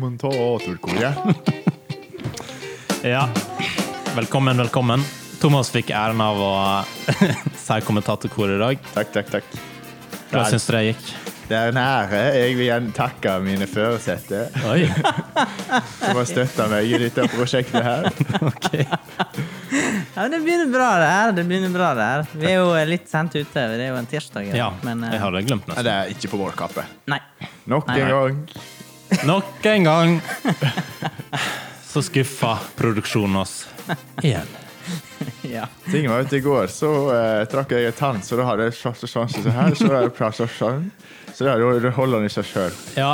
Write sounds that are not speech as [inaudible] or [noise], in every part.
Kommentatorkoret. Ja. Velkommen, velkommen. Thomas fikk æren av å [laughs] si kommentatorkoret i dag. Takk, takk, takk. Nei. Hva syns du det gikk? Det er en ære. Jeg vil igjen takke mine føresette Oi, som har støtta meg i dette prosjektet her. ok. Ja, men Det begynner bra, det her. det begynner bra det her. Vi er jo eh, litt sent ute. Det er jo en tirsdag. i [laughs] dag, Ja, men, eh, jeg hadde glemt Nei, nesten. Det er ikke på vår kappe. Nei. [laughs] Nok Nei, en nei. gang. Nok en gang [laughs] så skuffa produksjonen oss igjen. Ja. Ting var ute i går, så eh, trakk jeg en tann, så da hadde jeg sjanse sjanse så sånn her, så da hadde jeg plass og sånn. Så da hadde jeg holder den i seg sjøl. Ja,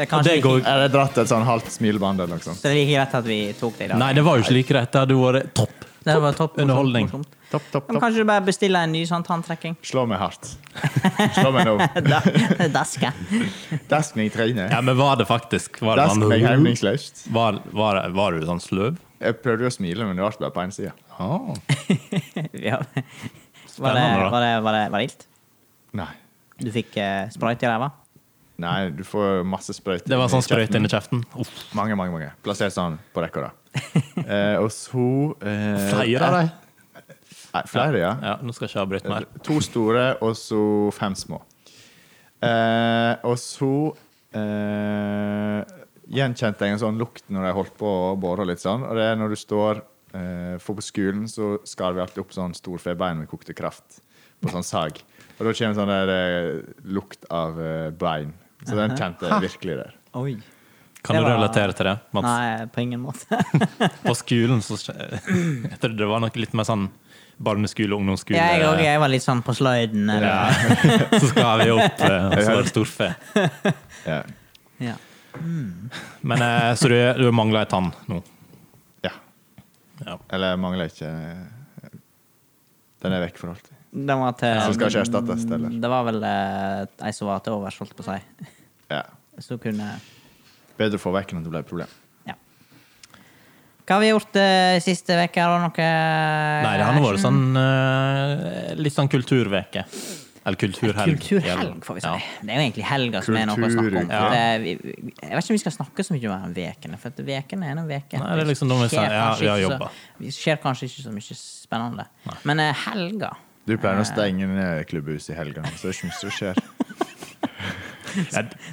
og det er det kanskje går Jeg hadde dratt et sånn halvt smilebånd eller noe sånt. Så det er like greit at vi tok det i dag. Nei, det var jo ikke like rett. Det hadde vært topp. det var topp, morsomt, underholdning. morsomt. Topp, topp, Ja, Men topp. kanskje du bare bestiller en ny sånn tanntrekking? [laughs] Slå meg hardt. Slå meg nå. Da- [laughs] Daske. Dask meg i trynet. Ja, men var det faktisk? Var det, Dask meg var, hemningsløst. var, var, var du sånn sløv? Jeg prøvde å smile, men det ble bare på én side. Ah. Ja. Var, det, Spennende, da. var, det, var, det, var det ilt? Nei. Du fikk eh, sprayt i ræva? Nei, du får masse sprøyter. Det var sånn i kjeften. sprøyte inni kjeften. Uff. Mange, mange, mange. Plassert sånn på rekke [laughs] og rad. Eh, og så eh, Flere av dem. Nei, flere, ja. Eh, Ja, nå skal jeg ikke avbryte mer. To store, og så fem små. Eh, og så eh, gjenkjente jeg en sånn lukt når jeg holdt på å bore litt sånn. Og det er når du står eh, For på skolen så skar vi alltid opp sånn storfebein med kokte kraft på sånn sag. Og da kommer sånn der eh, lukt av eh, bein. Så den kjente jeg virkelig der. Oi. Kan du Det var- relatere til det, Mats? Nei, på ingen måte. På skolen så Jeg trodde det var noe litt mer sånn barneskole, ungdomsskole [laughs] Jeg, og jeg var litt sånn på sløyden. Eller, eh, Ja. [laughs] Så skal vi opp, eh, og så var det storfe. Ja. ja. Men, eh, så du, du mangler ei tann nå? ja. Ja. Eller jeg mangler ikke eh, Den er vekk for alltid. Den var til Så skal ikke erstattes, eller? Det var vel eh, ei som var til overs, holdt på å si. Ja. Så kunne Bedre å få vekk enn at det ble et problem. Ja. Hva har vi gjort eh, siste uke? Har du noe Nei, det har nå vært sånn eh, litt sånn kulturveke. Eller kulturhelg. mm, Kulturhelg, får vi si. Ja. Det er jo egentlig helga som er noe å snakke om. Kulturuke. For det, vi, vi- jeg vet ikke om vi skal snakke så mye om den veken, for at veken er en veke. Nei, det er liksom noe vi skjer sa, ja, kanskje vi har ikke så- jobba. Det skjer kanskje ikke så mye spennende. Men eh, helga Du pleier å stenge ned klubbhuset i helgene, så det er ikke mye som skjer.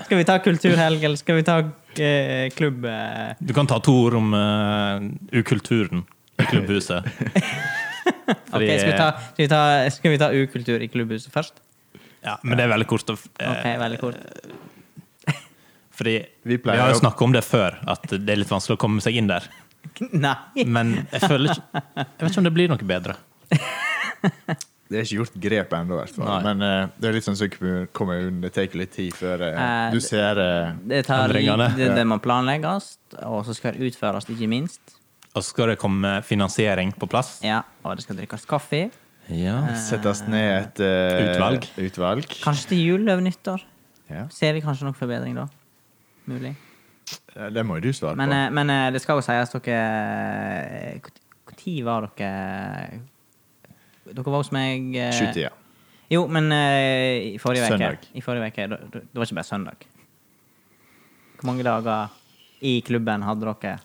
Skal vi ta kulturhelg, eller skal vi ta eh, klubb... eh, Du kan ta to ord om eh, ukulturen i klubbhuset. [laughs] ok, Fordi- eh, skal vi, ta, skal, vi ta, skal vi ta ukultur i klubbhuset først? Ja, men det er veldig kort. å f- eh, Ok, veldig kort. Fordi Vi vi, pleier har jo å- snakka om det før, at det er litt vanskelig å komme seg inn der. [laughs] Nei! Men jeg føler ikke Jeg vet ikke om det blir noe bedre. [laughs] Det er ikke gjort grep ennå, i hvert fall. Nei. Men eh, det er litt sånn som kommu- kommunen. Det tar litt tid før eh, Eh, du ser eh, Det, tar, Endringene. det, det må planlegges, og så skal det utføres, ikke minst. Og så skal det komme finansiering på plass. Ja, og det skal drikkes kaffe. Ja. Settes ned et eh, Utvalg. utvalg. Kanskje til jul over nyttår. Ja. Ser vi kanskje noen forbedring da? Mulig. Eh, Det må jo du svare Men, på. eh, men eh, det skal jo sies dere Når var dere Dere var hos meg eh, Sjutida. Jo, men eh, i forrige uke. Søndag. I forrige uke. da- da- Det var ikke bare søndag. Hvor mange dager i klubben hadde dere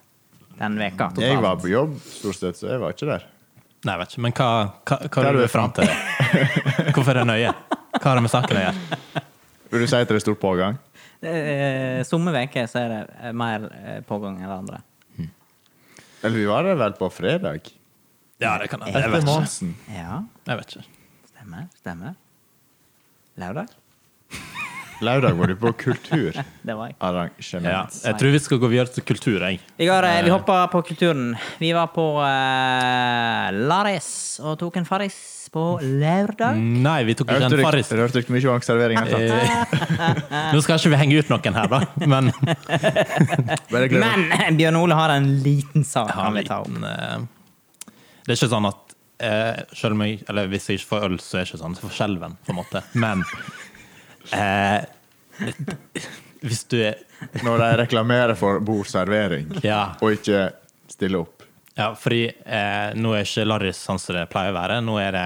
den veka? totalt? Jeg var på jobb stort sett, så jeg var ikke der. Nei, jeg vet ikke. Men hva, hva, hva er er du du fram til? Hvorfor er det nøye? Hva har det med saken å gjøre? Vil du si at det er stor pågang? Eh, Somme uker så er det eh, mer eh, pågang enn andre. Eller vi var der vel på fredag? Ja, det kan jeg. Jeg Etter vet ikke. Monsen. Ja, Jeg vet ikke. stemmer. Stemmer. Lørdag? Lørdag var du på [laughs] kultur. Det var jeg. arrangement. Ja, jeg tror vi skal gå videre til kultur, jeg. Vi, går, eh, vi hopper på kulturen. Vi var på eh, Laris og tok en farris på lørdag. Nei, vi tok ikke Hørte en dere- farris. Hørte dere mye om serveringen? sant? Eh, Nå skal ikke vi henge ut noen her, da. Men Bare glem det. Men eh, Bjørn Ole har en liten sak har han en vil ta opp. liten eh, Det er ikke sånn at eh, selv om jeg, eller hvis jeg ikke får øl, så er det ikke sånn. Jeg får skjelven, på en måte. Men eh, hvis du er Når de reklamerer for bordservering, Ja. og ikke stiller opp. Ja, fordi eh, nå er ikke Larris sånn som det pleier å være. Nå er det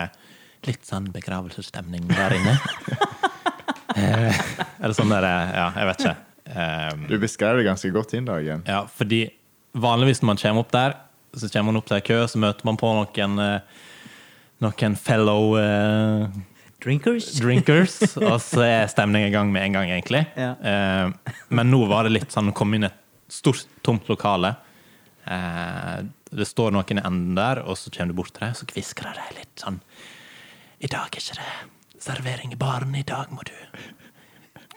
litt sånn begravelsesstemning der inne. eh, eller sånn der eh, Ja, jeg vet ikke. Um, Du beskrev det ganske godt inn, Dagen. Ja, fordi vanligvis når man kommer opp der, så kommer man opp til en kø, så møter man på noen, eh, noen fellow eh, Drinkers? drinkers, og så er stemningen i gang med en gang, egentlig. Ja. Eh, men nå var det litt sånn, kom inn i et stort, tomt lokale. Eh, det står noen i enden der, og så kommer du bort til dem, så kvisker de litt sånn I dag er ikke det servering i baren, i dag må du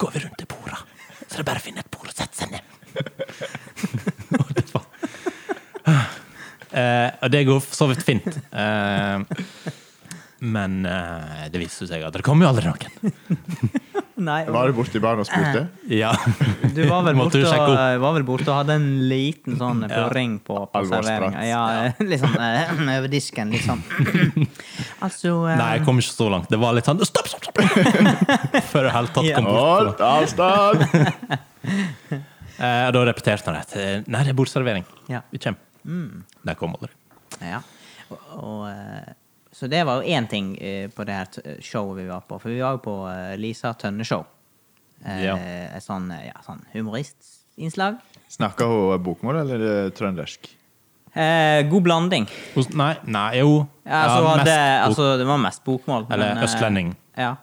Går vi rundt til bordet, så det er bare å finne et bord og sette seg ned. Og det var- Eh, og det går for så vidt fint. Eh, men eh, det viste seg at det kom jo aldri noen. Nei, Var du borti baren og spurte? Ja. du var vel, [laughs] Måtte borte du sjekke og, eh, opp? var vel borte og hadde en liten sånn purring på, på Alvorsprat. serveringa. Ja, [laughs] litt sånn eh, [laughs] over disken, [laughs] litt sånn. altså eh, Nei, jeg kom ikke så langt. Det var litt sånn Stopp, stopp, stopp! Før jeg i det hele tatt kom bort. Hold avstand! Eh, og da repeterte han det. Eh, Nei, det er bordservering. Ja. Vi kommer. Der kom aldri. Ja. Og, og, eh, så det var jo én ting eh, på det her t- showet vi var på. For vi var jo på eh, Lisa Tønne-show. Eh, Ja. Et sånn, eh, ja, sånn humoristinnslag. Snakker hun bokmål eller er det trøndersk? Eh, god blanding. Hos- Nei, nei, jo. Ja, Ja, altså, mest hadde, bok- altså, det var mest bokmål. Eller men, eh, østlending. Ja.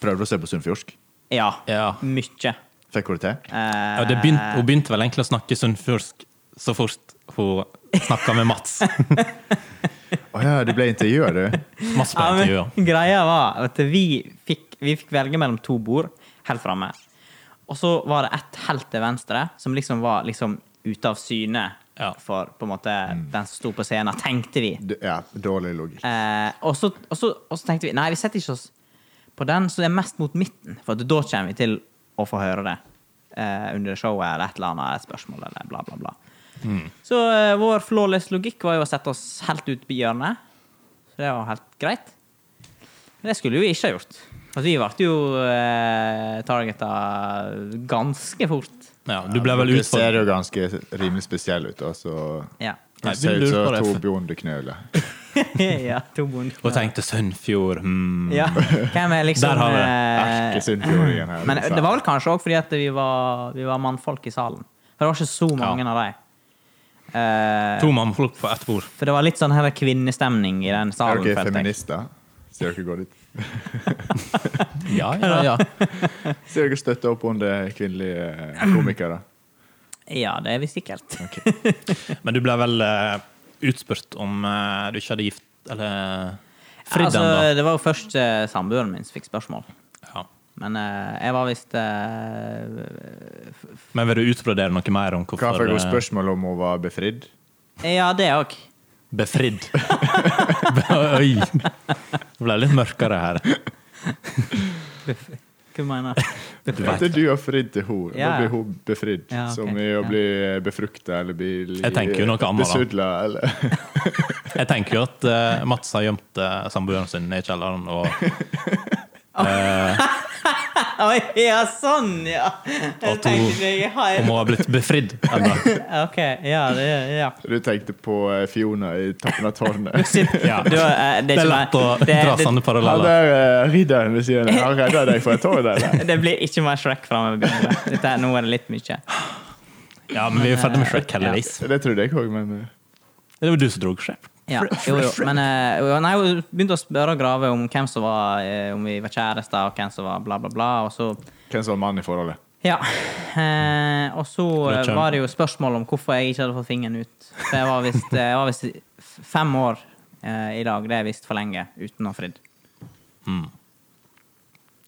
Prøvde å se på sunnfjordsk. ja. Ja. Mye. Eh, Fikk hun det til? ja, det begynte, hun begynte vel egentlig å snakke sunnfjordsk så fort hun snakka med Mats. Å ja, du ble intervjua, du. Mats på Ja, men intervjuet. Greia var at vi fikk, vi fikk velge mellom to bord helt framme. Og så var det ett helt til venstre, som liksom var liksom ute av syne Ja. for på en måte den som sto på scenen, tenkte vi. D- Ja, dårlig logikk. Eh, og, så, og, så, og så tenkte vi nei, vi setter ikke oss på den som er mest mot midten, for at da kommer vi til å få høre det eh, under showet eller et eller annet et spørsmål eller bla, bla, bla. Så eh, vår flawless logikk var jo å sette oss helt ut på hjørnet. Så det var helt greit. Men det skulle vi ikke ha gjort. For vi ble jo eh, targeta ganske fort. Ja, du ble vel Dere ser utfordret. jo ganske rimelig spesiell ut, og så Ja. Du Nei, vi ser ut lurer som på det. Torbjørn de Knøle. [laughs] ja, to bond. Og tenkte Sunnfjord hmm. Ja. Hvem er liksom Der har vi det. eh, Erkesunnfjordingen her. Men liksom. det var vel kanskje òg fordi at vi var, vi var mannfolk i salen. For det var ikke så mange av dem. Eh, To mannfolk på ett bord. for det var litt sånn her kvinnestemning i den Er salen. dere følte jeg. feminister? Ser dere går dit? Ja, ja, ja. Ser dere støtter opp under kvinnelige eh, komikere? Ja, det er vi sikkert. Men du ble vel eh, utspurt om eh, du ikke hadde gift Eller fridd altså, ennå? det var jo først eh, samboeren min som fikk spørsmål. Ja. Men eh, jeg var visst eh, Men vil du utbrodere noe mer om Hva hvorfor fikk hun eh, spørsmål om hun var befridd? Ja, det òg. Befridd. [laughs] Oi! Det ble litt mørkere her. Hva mener du? [laughs] Du vet. Etter du har fridd til henne, da Ja, ja. blir hun befridd. Ja, ok. Som i å Ja. bli befrukta eller bli Jeg tenker jo noe annet, da. besudla eller [laughs] Jeg tenker jo at eh, Mats har gjemt eh, samboeren sin i kjelleren, og Oi, ja, sånn, ja! Jeg At hun- tenkte ikke jeg har om hun har blitt [laughs] befridd. ennå. OK, ja, det ja. Du tenkte på eh, Fiona i Toppen av [laughs] tårnet. [laughs] Ja. Du, eh, Det ikke er meg. lett å Det- dra det- sånne Han paralleller. der eh, ridderen ved siden av, han redda deg fra et tårn, [laughs] eller? Det blir ikke mer Shrek framover. Dette er, nå er det litt mye. Ja, men vi er ferdig med Shrek, heldigvis. Det trodde jeg òg, men eh, Det var du som dro Shrek. Ja, jo, jo. Men eh, jo, nei, hun begynte å spørre og grave om hvem som var eh, Om vi var kjærester, og hvem som var bla, bla, bla. Og så hvem som var mann i forholdet? Ja. Eh, og så eh, Det kjem- var det jo spørsmål om hvorfor jeg ikke hadde fått fingeren ut. For jeg var visst, eh, jeg var visst f- fem år eh, i dag. Det er visst for lenge uten å ha fridd.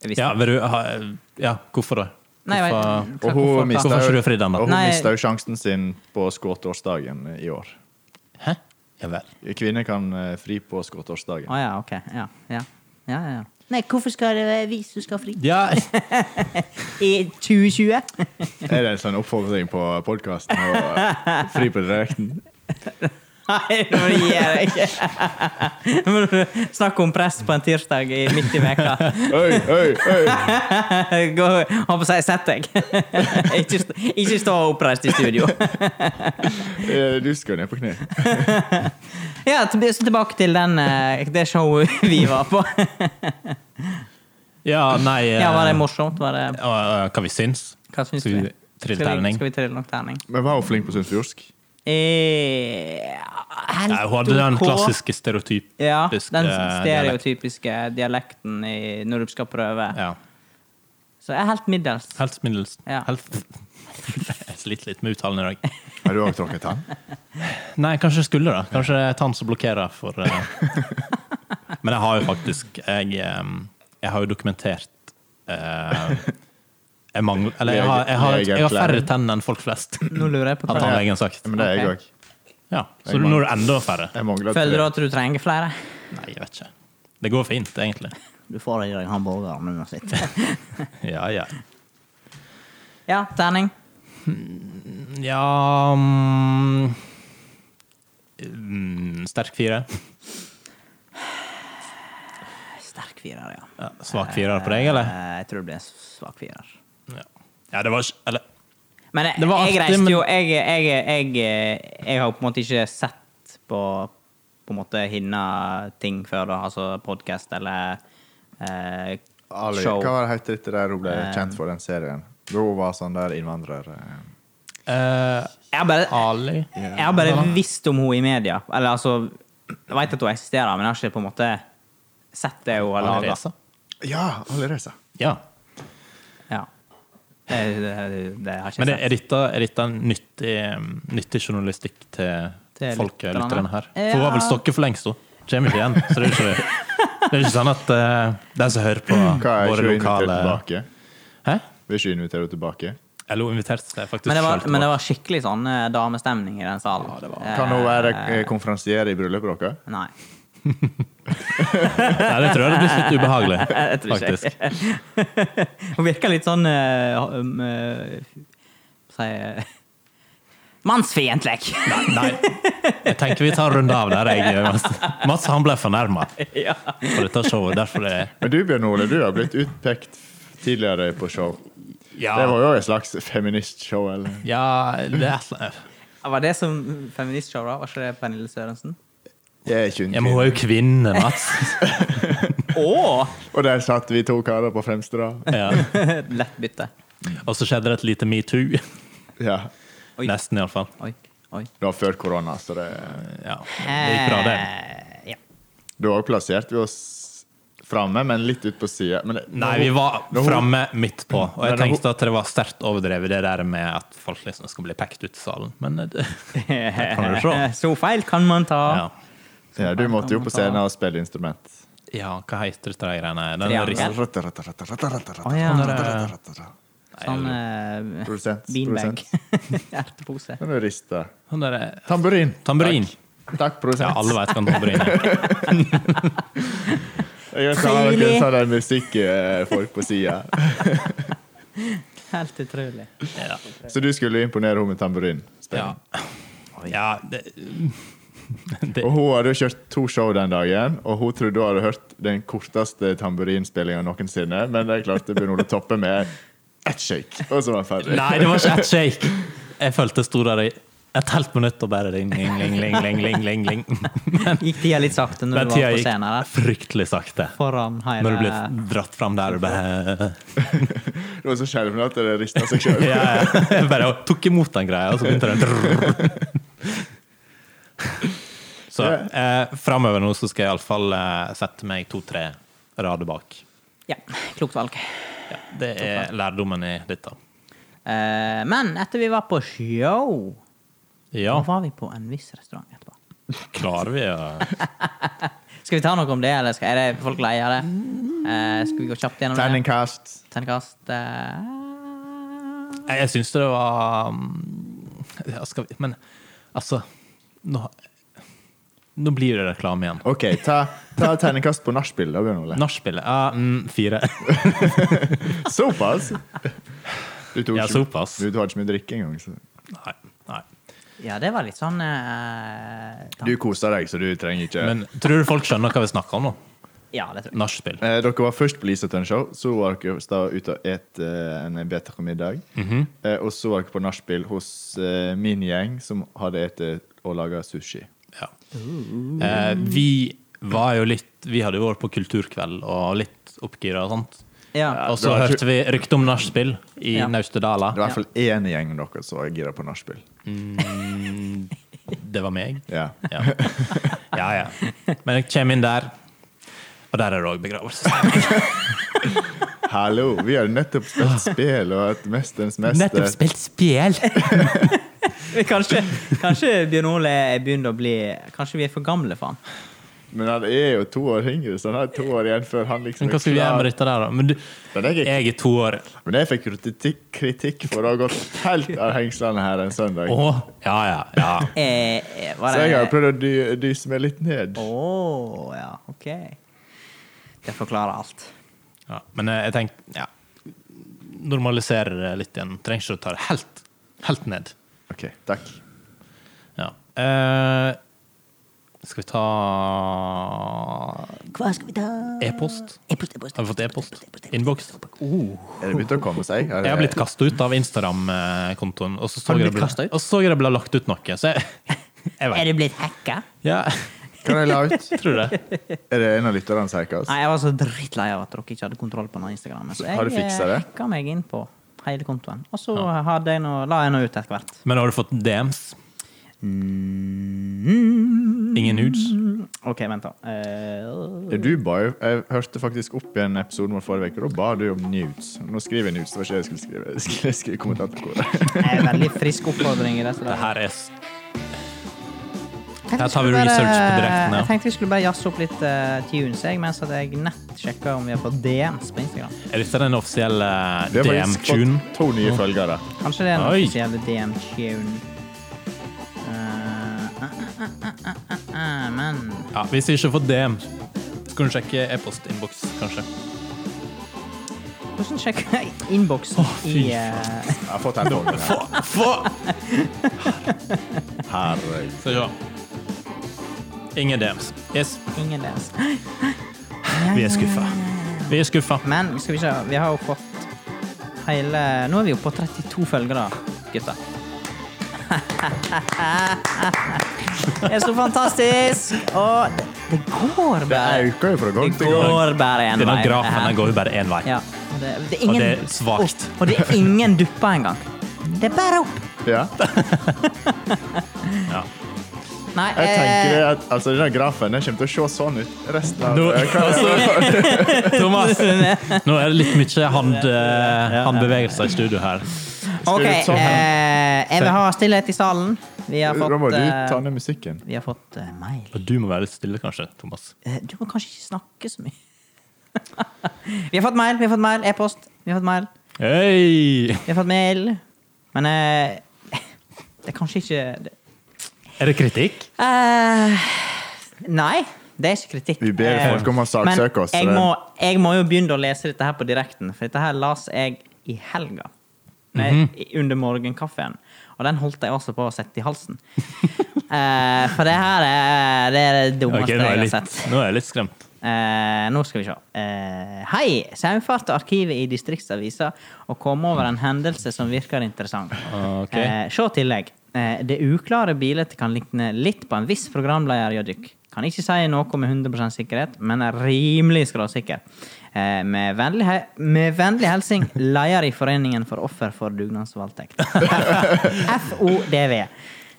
Jeg visste [laughs] Mm. Ja, det. vil du ha Ja, hvorfor det? Nei, jeg Hvorfor- vet- Og hvorfor- hun mista Hvorfor jo- ikke du fridd ennå? og hun Nei. mista jo sjansen sin på skuddårsdagen i år. Hæ? Ja vel. Kvinner kan eh, fri på skuddårsdagen. Å ja, OK. Ja. Ja. Ja, ja, ja. Nei, hvorfor skal det være vi som skal fri? Ja, [laughs] I 2020? Er det en sånn oppfordring på podkasten å eh, fri på direkten? Nei, det må du gi deg ikke. Nå må du snakke om press på en tirsdag i midt i veka. Oi, oi, oi! Gå, ha på seg, sett deg. Ikke, st- ikke stå oppreist i studio. Eh, Du skal ned på kne. Ja, til- så tilbake til den, eh, det showet vi var på. ja nei eh, [laughs] Ja, Var det morsomt? Var det, og, eh, Hva vi syns. hva syns Så vi- vi? Trill Skal vi, terning. skal vi trille nok terning? Men var hun flink på sunnfjordsk? Eh, helt Ja, hun hadde den ok. klassiske stereotypiske Ja, den eh, stereotypiske dialekten i, når du skal prøve. dialekt. Ja. Så jeg er helt middels. Helt middels. Ja. Helt [laughs] Jeg sliter litt med uttalen i dag. Har du òg tråkket tann? Nei, kanskje jeg skulle da. Kanskje det er tann som blokkerer for eh. Men jeg har jo faktisk Jeg, eh, jeg har jo dokumentert eh, Jeg mangler Eller jeg har, jeg, har, jeg, har, færre tenner enn folk flest, Nå lurer jeg på har hva tannlegen sagt. Men det er jeg Ok. òg. Ja, så nå er det enda færre. Jeg mangler Føler du tre. at du trenger flere? Nei, jeg vet ikke. Det går fint, egentlig. Du får i deg hamburgeren uansett. Ja, ja. [laughs] ja, terning. Ja mm, mm, Sterk fire. Sterk firer, ja. Ja, svak firer på deg, eller? Eh, Jeg tror det blir en svak firer. Ja, ja det var ikke Eller Men jeg, Det var jeg artig, reiste men- jo jeg, jeg, jeg, jeg, jeg har på en måte ikke sett på på en måte hinna ting før, da. Altså podkast eller eh, Ali, show. hva var det heter dette der hun ble kjent for, den serien? Da hun var sånn der innvandrer... eh, eh, Jeg har bare, Ali jeg har bare visst om henne i media. Eller altså Jeg veit at hun eksisterer, men jeg har ikke på en måte sett det hun har laga. Alireza. Ja, Ali Reza. Ja. Ja. Det, det, det har jeg Men ikke det, sett. er dette, er dette en nyttig, mm, nyttig journalistikk til, Til folk, eh, lytterne. lytterne her? Ja. For hun har vel stokket for lengst, hun. Kommer ikke igjen. Så det er jo ikke, det er jo ikke sånn at eh, de som hører på Hva er ikke Mm. våre vi invitert lokale tilbake? Hæ? Vi er ikke invitert tilbake. Eller hun inviterte seg faktisk Men det, selv var, til men det vår- var skikkelig sånn eh, damestemning i den salen. Eh, Kan hun være eh, konferansier i bryllupet deres? Nei. Nei, det tror jeg det blir litt ubehagelig, [laughs] Jeg tror ikke faktisk. [laughs] Hun virker litt sånn eh, ha- um, eh, Hva sier jeg? Mannsfiendtlig! [laughs] Nei, nei, jeg tenker vi tar en runde av der. Jeg, Mats, Mats han ble fornærma ja. for dette showet. Derfor det Men du, Bjørn Ole, du har blitt utpekt tidligere på show. ja, Det var jo et slags feministshow, eller? ja, det er et eller annet. Var det som feministshow, da? Var ikke det Pernille Sørensen? Jeg er ikke Ja, men hun unnskyldt. er jo kvinne, Mats. [laughs] Å! Og der satt vi to karer på fremste rad. Ja. [laughs] Lett bytte. Og så skjedde det et lite metoo. Ja. Oi. Nesten, iallfall. Oi. Oi. Det var før korona, så det Ja. Det gikk bra, det. Eh, ja. Da plasserte vi oss framme, men litt ut på sida. Nei, vi var framme midt på, og jeg Når hun- tenkte at det var sterkt overdrevet, det der med at folk liksom skal bli pekt ut i salen, men eh, det, [laughs] det kan du se. [laughs] Så feil kan man ta. [laughs] Ja, Ja. du måtte jo på scenen og spille instrument. ja, hva heter dette der greiene? Den Triangel. rist- Å, ja. Sånn Nei, eh, Produsent. beanbag. produsent. [laughs] Ertepose. Den er rista. han der- Tamburin. Tamburin. Takk, Takk Ja, alle produsent. vet hva en tamburin er. Jeg vet ikke om Trivelig. dere sa det er musikkfolk på sida. Helt utrolig. [laughs] Ja. Så du skulle imponere henne med tamburin? Ja. ja det, [laughs] det, Og hun hadde jo kjørt to show den dagen, og hun trodde hun hadde hørt den korteste tamburinspillinga noensinne, men det klarte Bjørn Ole Toppe med ett shake, og så var han ferdig. Nei, det var ikke ett shake. [laughs] Jeg følte jeg sto der i et helt minutt og bare ring, ring, ring, ring, ring, ring, ring, [laughs] ring. Gikk tida litt sakte når Men du tida var på gikk scenen? eller? fryktelig sakte. Foran eh, hele Når du ble dratt fram der og [laughs] bare Det var så skjelvende at det rista seg sjøl. Ja, ja. Jeg bare tok imot den greia, og så begynte den [laughs] Så eh, framover nå så skal jeg iallfall eh, sette meg to-tre rader bak. Ja, klokt valg. Ja, det er lærdommen i dette. Eh, men etter vi var på show, Ja, da var vi på en viss restaurant etterpå. klarer vi å Skal vi ta noe om det, eller skal, er det folk lei av det? Eh, skal vi gå kjapt gjennom det? Terningkast. Terningkast eh, Nei, Jeg syns det var mm, ja, skal vi, Men altså Nå, nå blir det reklame igjen. OK, ta, ta terningkast på nachspiel, da, Bjørn Ole. Nachspielet ja, mm, fire. Såpass! Du tok Ja, ikke- såpass. Du hadde ikke mye drikke engang. Så. Nei. nei. Ja, det var litt sånn eh, ta- Du koser deg, så du trenger ikke Men tror du folk skjønner hva vi snakker om nå? Ja, det tror jeg. Nachspiel. Eh, dere var først på Lisetønn Show, så var dere sta ute og et eh, en bedre middag. Mhm. eh, og så var dere på nachspiel hos eh, min gjeng, som hadde etet og laga sushi. Ja. Eh, vi var jo litt Vi hadde jo vært på kulturkveld og litt oppgira og sånt. Ja. Og så hørte vi rykte om nachspiel i Ja. Naustedala. Det var i hvert fall én i gjengen deres som var gira på nachspiel. Det var meg. Ja. [laughs] Ja. ja, ja. Men jeg kommer inn der, og der er det òg begravelse. Hallo, vi har nettopp spilt spill og et Mesterens mester. Ah. Nettopp spilt spjel! Kanskje, kanskje Bjørn Ole er begynt å bli Kanskje vi er for gamle for han. Men han er jo to år yngre, så han har to år igjen før han liksom Men hva skal vi gjøre med dette der, da? Men du, Men jeg, er- jeg er to år. men jeg fikk kritikk, kritikk for å ha gått helt av hengslene her en søndag. Å, ja, ja, ja. Eh, eh, var Så det- jeg har prøvd å dy, dyse meg litt ned. Å ja, OK. Det forklarer alt. ja. Men eh, jeg tenker ja. Normalisere det litt igjen. Trenger ikke å ta det helt, helt ned. OK, takk. Ja. Eh, skal vi ta Hva skal vi ta? e-post? E-post, e-post. Har vi fått e-post? Innboks? Er det begynt å komme seg? Har Jeg har blitt det- kasta ut av Instagram-kontoen. Og så så Har du jeg det blitt ble- kastet ut? og så så jeg det ble lagt ut noe. Så jeg, [laughs] jeg Er vet. du blitt hacka? Ja, Kan jeg la ut? tror [laughs] det. Er det en av lytterne som hacker oss? Nei, jeg var så drittlei av at dere ikke hadde kontroll på den Instagramen. Så jeg Har du fiksa eh, det? hacka meg inn på hele kontoen. Og så hadde jeg noe, la jeg noe ut etter hvert. Men har du fått DMs? Mm. Ingen nudes? OK, vent, da. Eh, Ja, Du ba jo, jeg hørte faktisk opp igjen episoden vår forrige uke, og da ba du om nudes. Nå skriver jeg nudes, det var ikke det jeg skulle skrive. Jeg skulle skrive [laughs] kommentatorkoret. jeg er veldig frisk oppfordring i det. Så det Det her er s- Tenkte Her tar vi skulle bare- research på direkten, ja. Jeg tenkte vi skulle bare jazze opp litt eh, tunes, jeg, mens at jeg nett sjekker om vi har fått DMs på Instagram. Er dette den offisielle Vi har faktisk DM-tune? fått to nye følgere. Kanskje det er Oi. noe som gjelder DM-tune. Eh, eh, eh, eh, eh, eh, Men Ja, hvis vi ikke har fått DM, så kan du sjekke e-postinnboks, kanskje. hvordan sjekker jeg innboksen i fy eh, Jeg har fått en [laughs] følgere. Få! Få! Herregud. Skal vi se. Ingen DMs. Yes, Ingen DMs. vi er skuffa. Vi er skuffa. Men skal vi se, vi har jo fått hele Nå er vi jo på 32 følgere, gutter. [laughs] Det er så fantastisk! Og det- det går Det bare øker jo fra gang Det til gang. går bare en Denne vei. grafen den går jo bare én vei. Ja. Og det, det er Og ingen, det er svakt. Og, og det er ingen dupper engang. Det er bare opp. Ja. Ja. Nei, Jeg eh, tenker at altså, denne grafen den kommer til å se sånn ut resten av Nå- Hva er det? [laughs] Thomas, nå er det litt mye hand, eh, handbevegelser i studio her. OK. ut sånn. Eh, jeg vil ha stillhet i salen. Vi har Da må fått, du eh, ta ned musikken. vi har fått eh, mail. Og du må være litt stille, kanskje, Thomas. Eh, Du må kanskje ikke snakke så mye. [laughs] vi har fått mail, vi har fått mail, e-post. Vi har fått mail. Hei! Vi har fått mail. Men eh, [laughs] det er kanskje ikke det. Er det kritikk? Eh, Nei, det er ikke kritikk. Vi ber Eh, folk om å saksøke oss, så Men jeg det- må, jeg må jo begynne å lese dette her på direkten, for dette her las jeg i helga. Nei, Mhm. i- Under morgenkaffen. Og den holdt jeg også på å sette i halsen. [laughs] Eh, for det her er det, er det dummeste Ok, nå, er jeg jeg har litt, sett. nå er jeg litt skremt. Eh, nå skal vi se. Eh, hei! Saumfarte arkivet i Distriktsavisa og kom over en hendelse som virker interessant. Ok. Eh, se tillegg. Eh, det uklare bildet kan ligne litt på en viss programleder, Joddik. Kan ikke si noe med 100 sikkerhet, men er rimelig skråsikker. Eh, med, vennlig he med vennlig hilsen leder i Foreningen for offer for dugnadsvoldtekt. [laughs] FODV.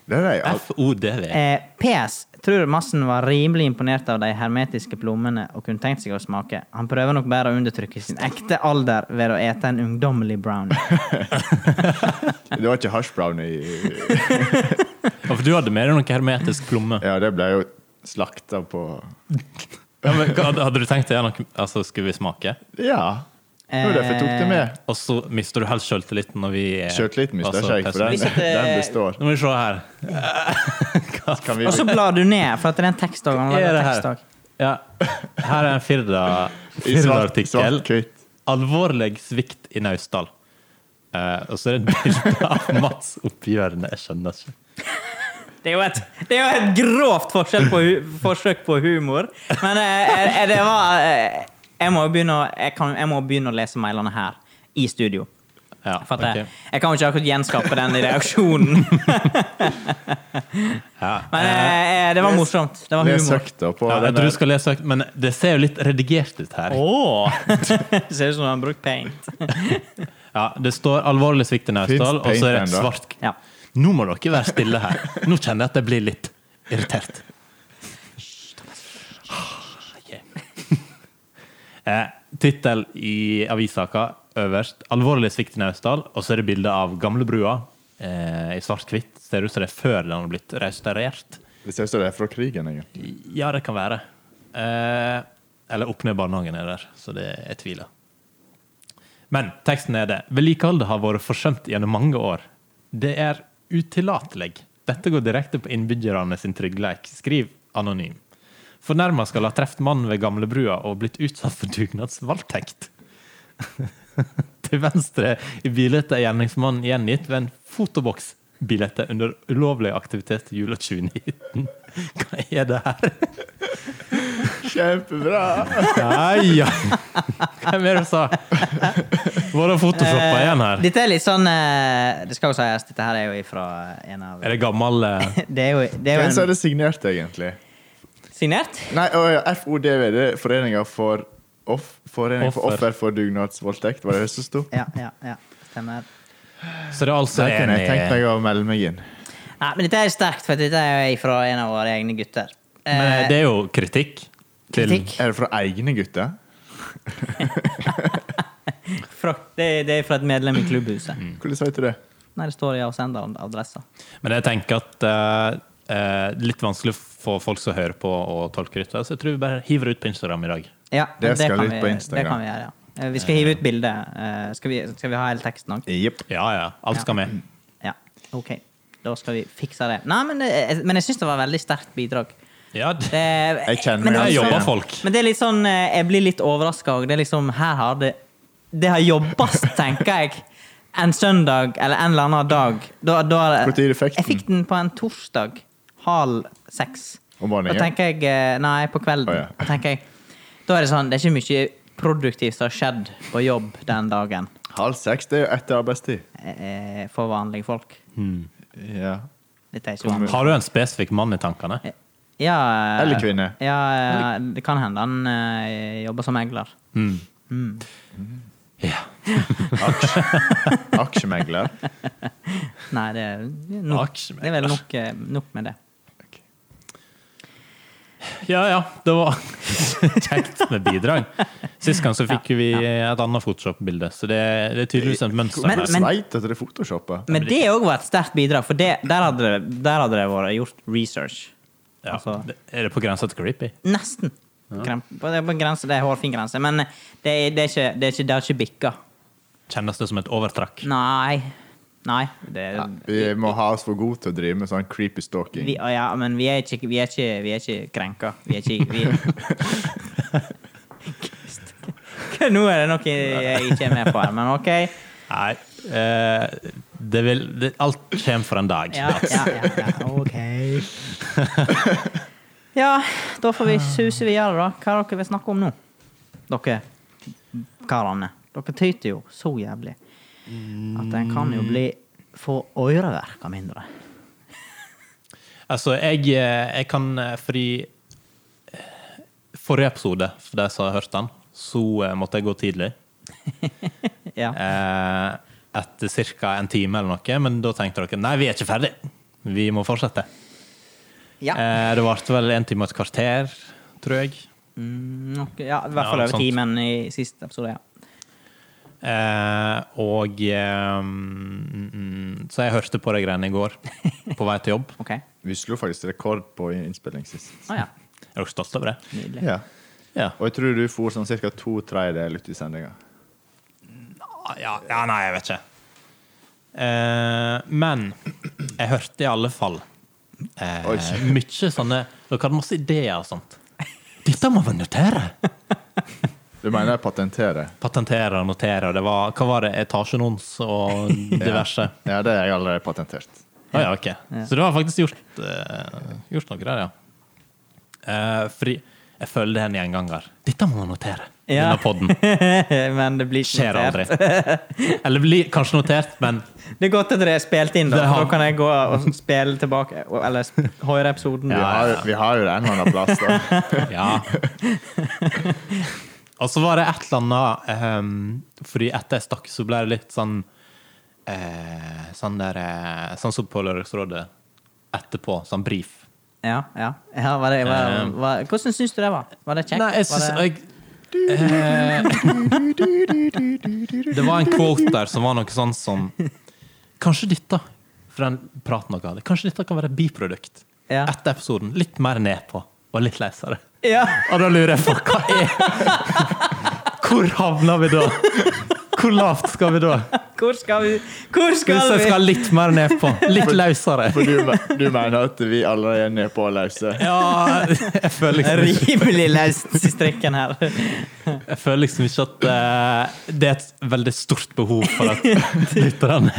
Det er det, FODV. Eh, PS. Tror massen var rimelig imponert av de hermetiske plommene og kunne tenkt seg å smake. Han prøver nok bare å undertrykke sin ekte alder ved å ete en ungdommelig brown. det var ikke hashbrown i Ja, for du hadde med deg noe hermetisk plomme. Ja, det ble jo slakta på Ja, men, hva- hadde du tenkt det? er noe- Altså, skulle vi smake? Ja. Det var derfor jeg tok det med. Og så mister du helt sjøltilliten når vi er Sjøltillit mister altså, ikke jeg, for den, pessimister. Hvis at, [laughs] eh, den består. Nå må vi se her. Kan vi Og så blar du ned, for at det er en tekst òg. Han Hva er lager det tekst her? også. Ja. Her er en Firda- [laughs] I svart- Firda-artikkel. svart-hvitt. Alvorlig svikt i Naustdal. Eh, og så er det et bilde [laughs] av Mats oppi hjørnet. Jeg skjønner ikke. Det er jo et, det er jo et grovt forskjell på hu forsøk på humor. Men eh, eh, det var eh, Jeg må jo begynne å, jeg kan, jeg må begynne å lese mailene her, i studio. Ja, For at ok. jeg, jeg kan jo ikke akkurat gjenskape den i reaksjonen. [laughs] ja. Men eh, det var morsomt. Det var Les humor. høyt på Ja, jeg den der. tror du skal lese høyt, men det ser jo litt redigert ut her. Åh! [laughs] Ser ut som han har brukt paint. Ja, det står 'alvorlig svikt i Naustdal', Finns og så er det paint et enda? svart Ja. Nå må dere være stille her. Nå kjenner jeg at jeg blir litt irritert. Ok. Ah, Eh, Tittel i avissaka øverst 'Alvorlig svikt i Naustdal', og så er det bilde av gamlebrua eh, i svart-hvitt. Ser ut som det er før den har blitt restaurert. Det ser ut som det er fra krigen. egentlig. Ja, det kan være. Eh, eller opp ned barnehagen er der, så det er tviler. Men teksten er det. Vedlikeholdet har vært forsømt gjennom mange år. Det er utillatelig. Dette går direkte på innbyggerne sin trygghet. Skriv anonym. Fornærma skal ha truffet mannen ved gamlebrua og blitt utsatt for dugnadsvoldtekt. Til venstre i bildet er gjerningsmannen gjengitt ved en fotoboks. Bildet under ulovlig aktivitet jula 2019. Hva er det her? Kjempebra! Nei, ja. Hvem er det som sa Eh, Var det photoshoppa igjen her? Dette er litt sånn eh, Det skal jo sies, dette her er jo ifra en av Er det gammel eh, [laughs] Det er jo, det er Hvem som jo er det signert, egentlig? en signert. Nei, å, ja, FODV, det er Foreninga for off, Foreningen for Offer. offer for dugnadsvoldtekt, var det det som sto? Ja, ja, ja. Stemmer. Så det er altså Der en kunne jeg tenkt i meg å melde meg inn. Nei, men dette er sterkt, for dette er jo ifra en av våre egne gutter. Eh, Men det er jo kritikk. Til, kritikk. Er det fra egne gutter? Fra, det, er- det er fra et medlem i klubbhuset. Hvordan sa jeg til det? Nei, det står i avsenderen adressa. Men jeg tenker at eh, eh, litt vanskelig for folk som hører på å tolke dette, så jeg tror vi bare hiver ut på Instagram i dag. Ja, Det men skal kan ut vi- på Instagram. Det kan vi gjøre, ja. Eh, Vi skal hive ut bildet. Eh, Skal vi, skal vi ha hele teksten òg? Jepp. Ja, ja. Alt skal med. Ja. OK. Da skal vi fikse det. Nei, men, eh, men jeg syns det var et veldig sterkt bidrag. Ja, det, Det- Jeg kjenner Eh, men det meg er altså jeg litt jobber igjen. sånn- folk. Men det er litt sånn eh, Jeg blir litt overraska òg. Det er liksom Her har det Det har jobbes, [laughs] tenker jeg. En søndag eller en eller annen dag. Da, da, Hvor tid fikk jeg fikk den på en torsdag halv seks. Om morgenen? Da tenker jeg eh, Nei, på kvelden. Å, ja. Da tenker jeg Da er det sånn Det er ikke mye produktivt som har skjedd på jobb den dagen Halv seks, det er jo etter arbeidstid. eh, for vanlige folk. Ja. Dette er ikke vanlig. Har du en spesifikk mann i tankene? Ja, eh, Eller kvinne. Ja, eh, det kan hende han eh, jobber som megler. Ja. Aksjemegler. Nei, det er nok, Aksjemegler. det er vel nok, eh, nok med det. Ja, ja. Det var [laughs] kjekt med bidrag. Sist gang så fikk jo vi et annet Photoshop-bilde, så det, det er tydeligvis et mønster. Men, her. men, Sveit at det er photoshoppa. Men det òg var et sterkt bidrag, for det, der hadde det, der hadde det vært gjort research. Ja, Altså- det- Er det på grensa til creepy? Nesten. Grem- på- Det er på en grense, det er hårfin grense, men eh, det, er- det er ikke, det er ikke, det har ikke bikka. Kjennes det som et overtrekk? Nei. Nei. Det, Vi må ha oss for gode til å drive med sånn creepy stalking. vi, ja, men vi er ikke, vi er ikke, vi er ikke krenka. Vi er ikke vi Hva- Nå er det noe jeg ikke er med på her, men OK. Nei. eh, det vil, det, alt kommer for en dag. Ja, ja, ja, ja. OK. Ja, da får vi suse videre, da. Hva er det dere vil snakke om nå? Dere karene. Dere tyter jo så jævlig at en kan jo bli få øreverk av mindre. [laughs] Altså, jeg, eh, jeg kan eh, Fordi eh, forrige episode, for de som har hørt den, så eh, måtte jeg gå tidlig. Ja. Eh, etter ca. en time eller noe, men da tenkte dere nei, vi er ikke ferdig. Vi må fortsette. ja. Eh, det varte vel en time og et kvarter, tror jeg. Mm, nok- ja, I hvert Ja, fall over sant. timen i siste episode. ja. Eh, og eh, mm, mm, Så jeg hørte på de greiene i [laughs] går, på vei til jobb. OK. Vi slo faktisk rekord på innspilling sist. Å ja. Er dere stolte over det? [laughs] Nydelig. Ja. Ja. Og jeg tror du for sånn cirka to tredjedeler ut i sendinga. ja. Ja, nei, jeg vet ikke. Eh, men jeg hørte i alle fall eh, [laughs] Oi. mye sånne Dere hadde masse ideer og sånt. Dette må vi notere! [laughs] Du mener jeg patenterer? Patentere og notere. og Det var, hva var det? Etasjenons [laughs] og diverse. Ja, det har jeg allerede patentert. Å ja, ok. Så du har faktisk gjort, eh, gjort noe der, ja. Eh, fordi jeg føler det er en gjenganger. Dette må man notere. Ja. denne podden. men det blir ikke Skjer aldri. notert. Eller blir kanskje notert, men Det er godt at det er spilt inn, da. Det har- Da kan jeg gå og spille tilbake, eller sp- høre episoden. Vi Ja. har, vi har jo det en eller annen plass, da. Ja. Og så var det et eller annet ehm, Fordi etter jeg stakk, så ble det litt sånn eh, Sånn der eh, Sånn som på Lørdagsrådet etterpå. Sånn brief. Ja, ja. ja var det, var, var, hvordan syns du det var? Var det kjekt? Ehm. Nei, jeg syns Var det- jeg, eh, Det var en quote der som var noe sånn som Kanskje dette for den praten dere hadde, kanskje dette kan være et biprodukt Ja. etter episoden. Litt mer nedpå og litt leisere. ja. Og da lurer jeg på hva er Hvor havner vi da? Hvor lavt skal vi da? Hvor skal vi? Hvor Hvis skal jeg vi? skal litt mer nedpå. Litt løsere. For du, me- du mener at vi allerede er nedpå og løse? Ja, jeg føler liksom ikke, Rimelig løst i strikken her. jeg føler liksom ikke at eh, det er et veldig stort behov for [laughs] at lytterne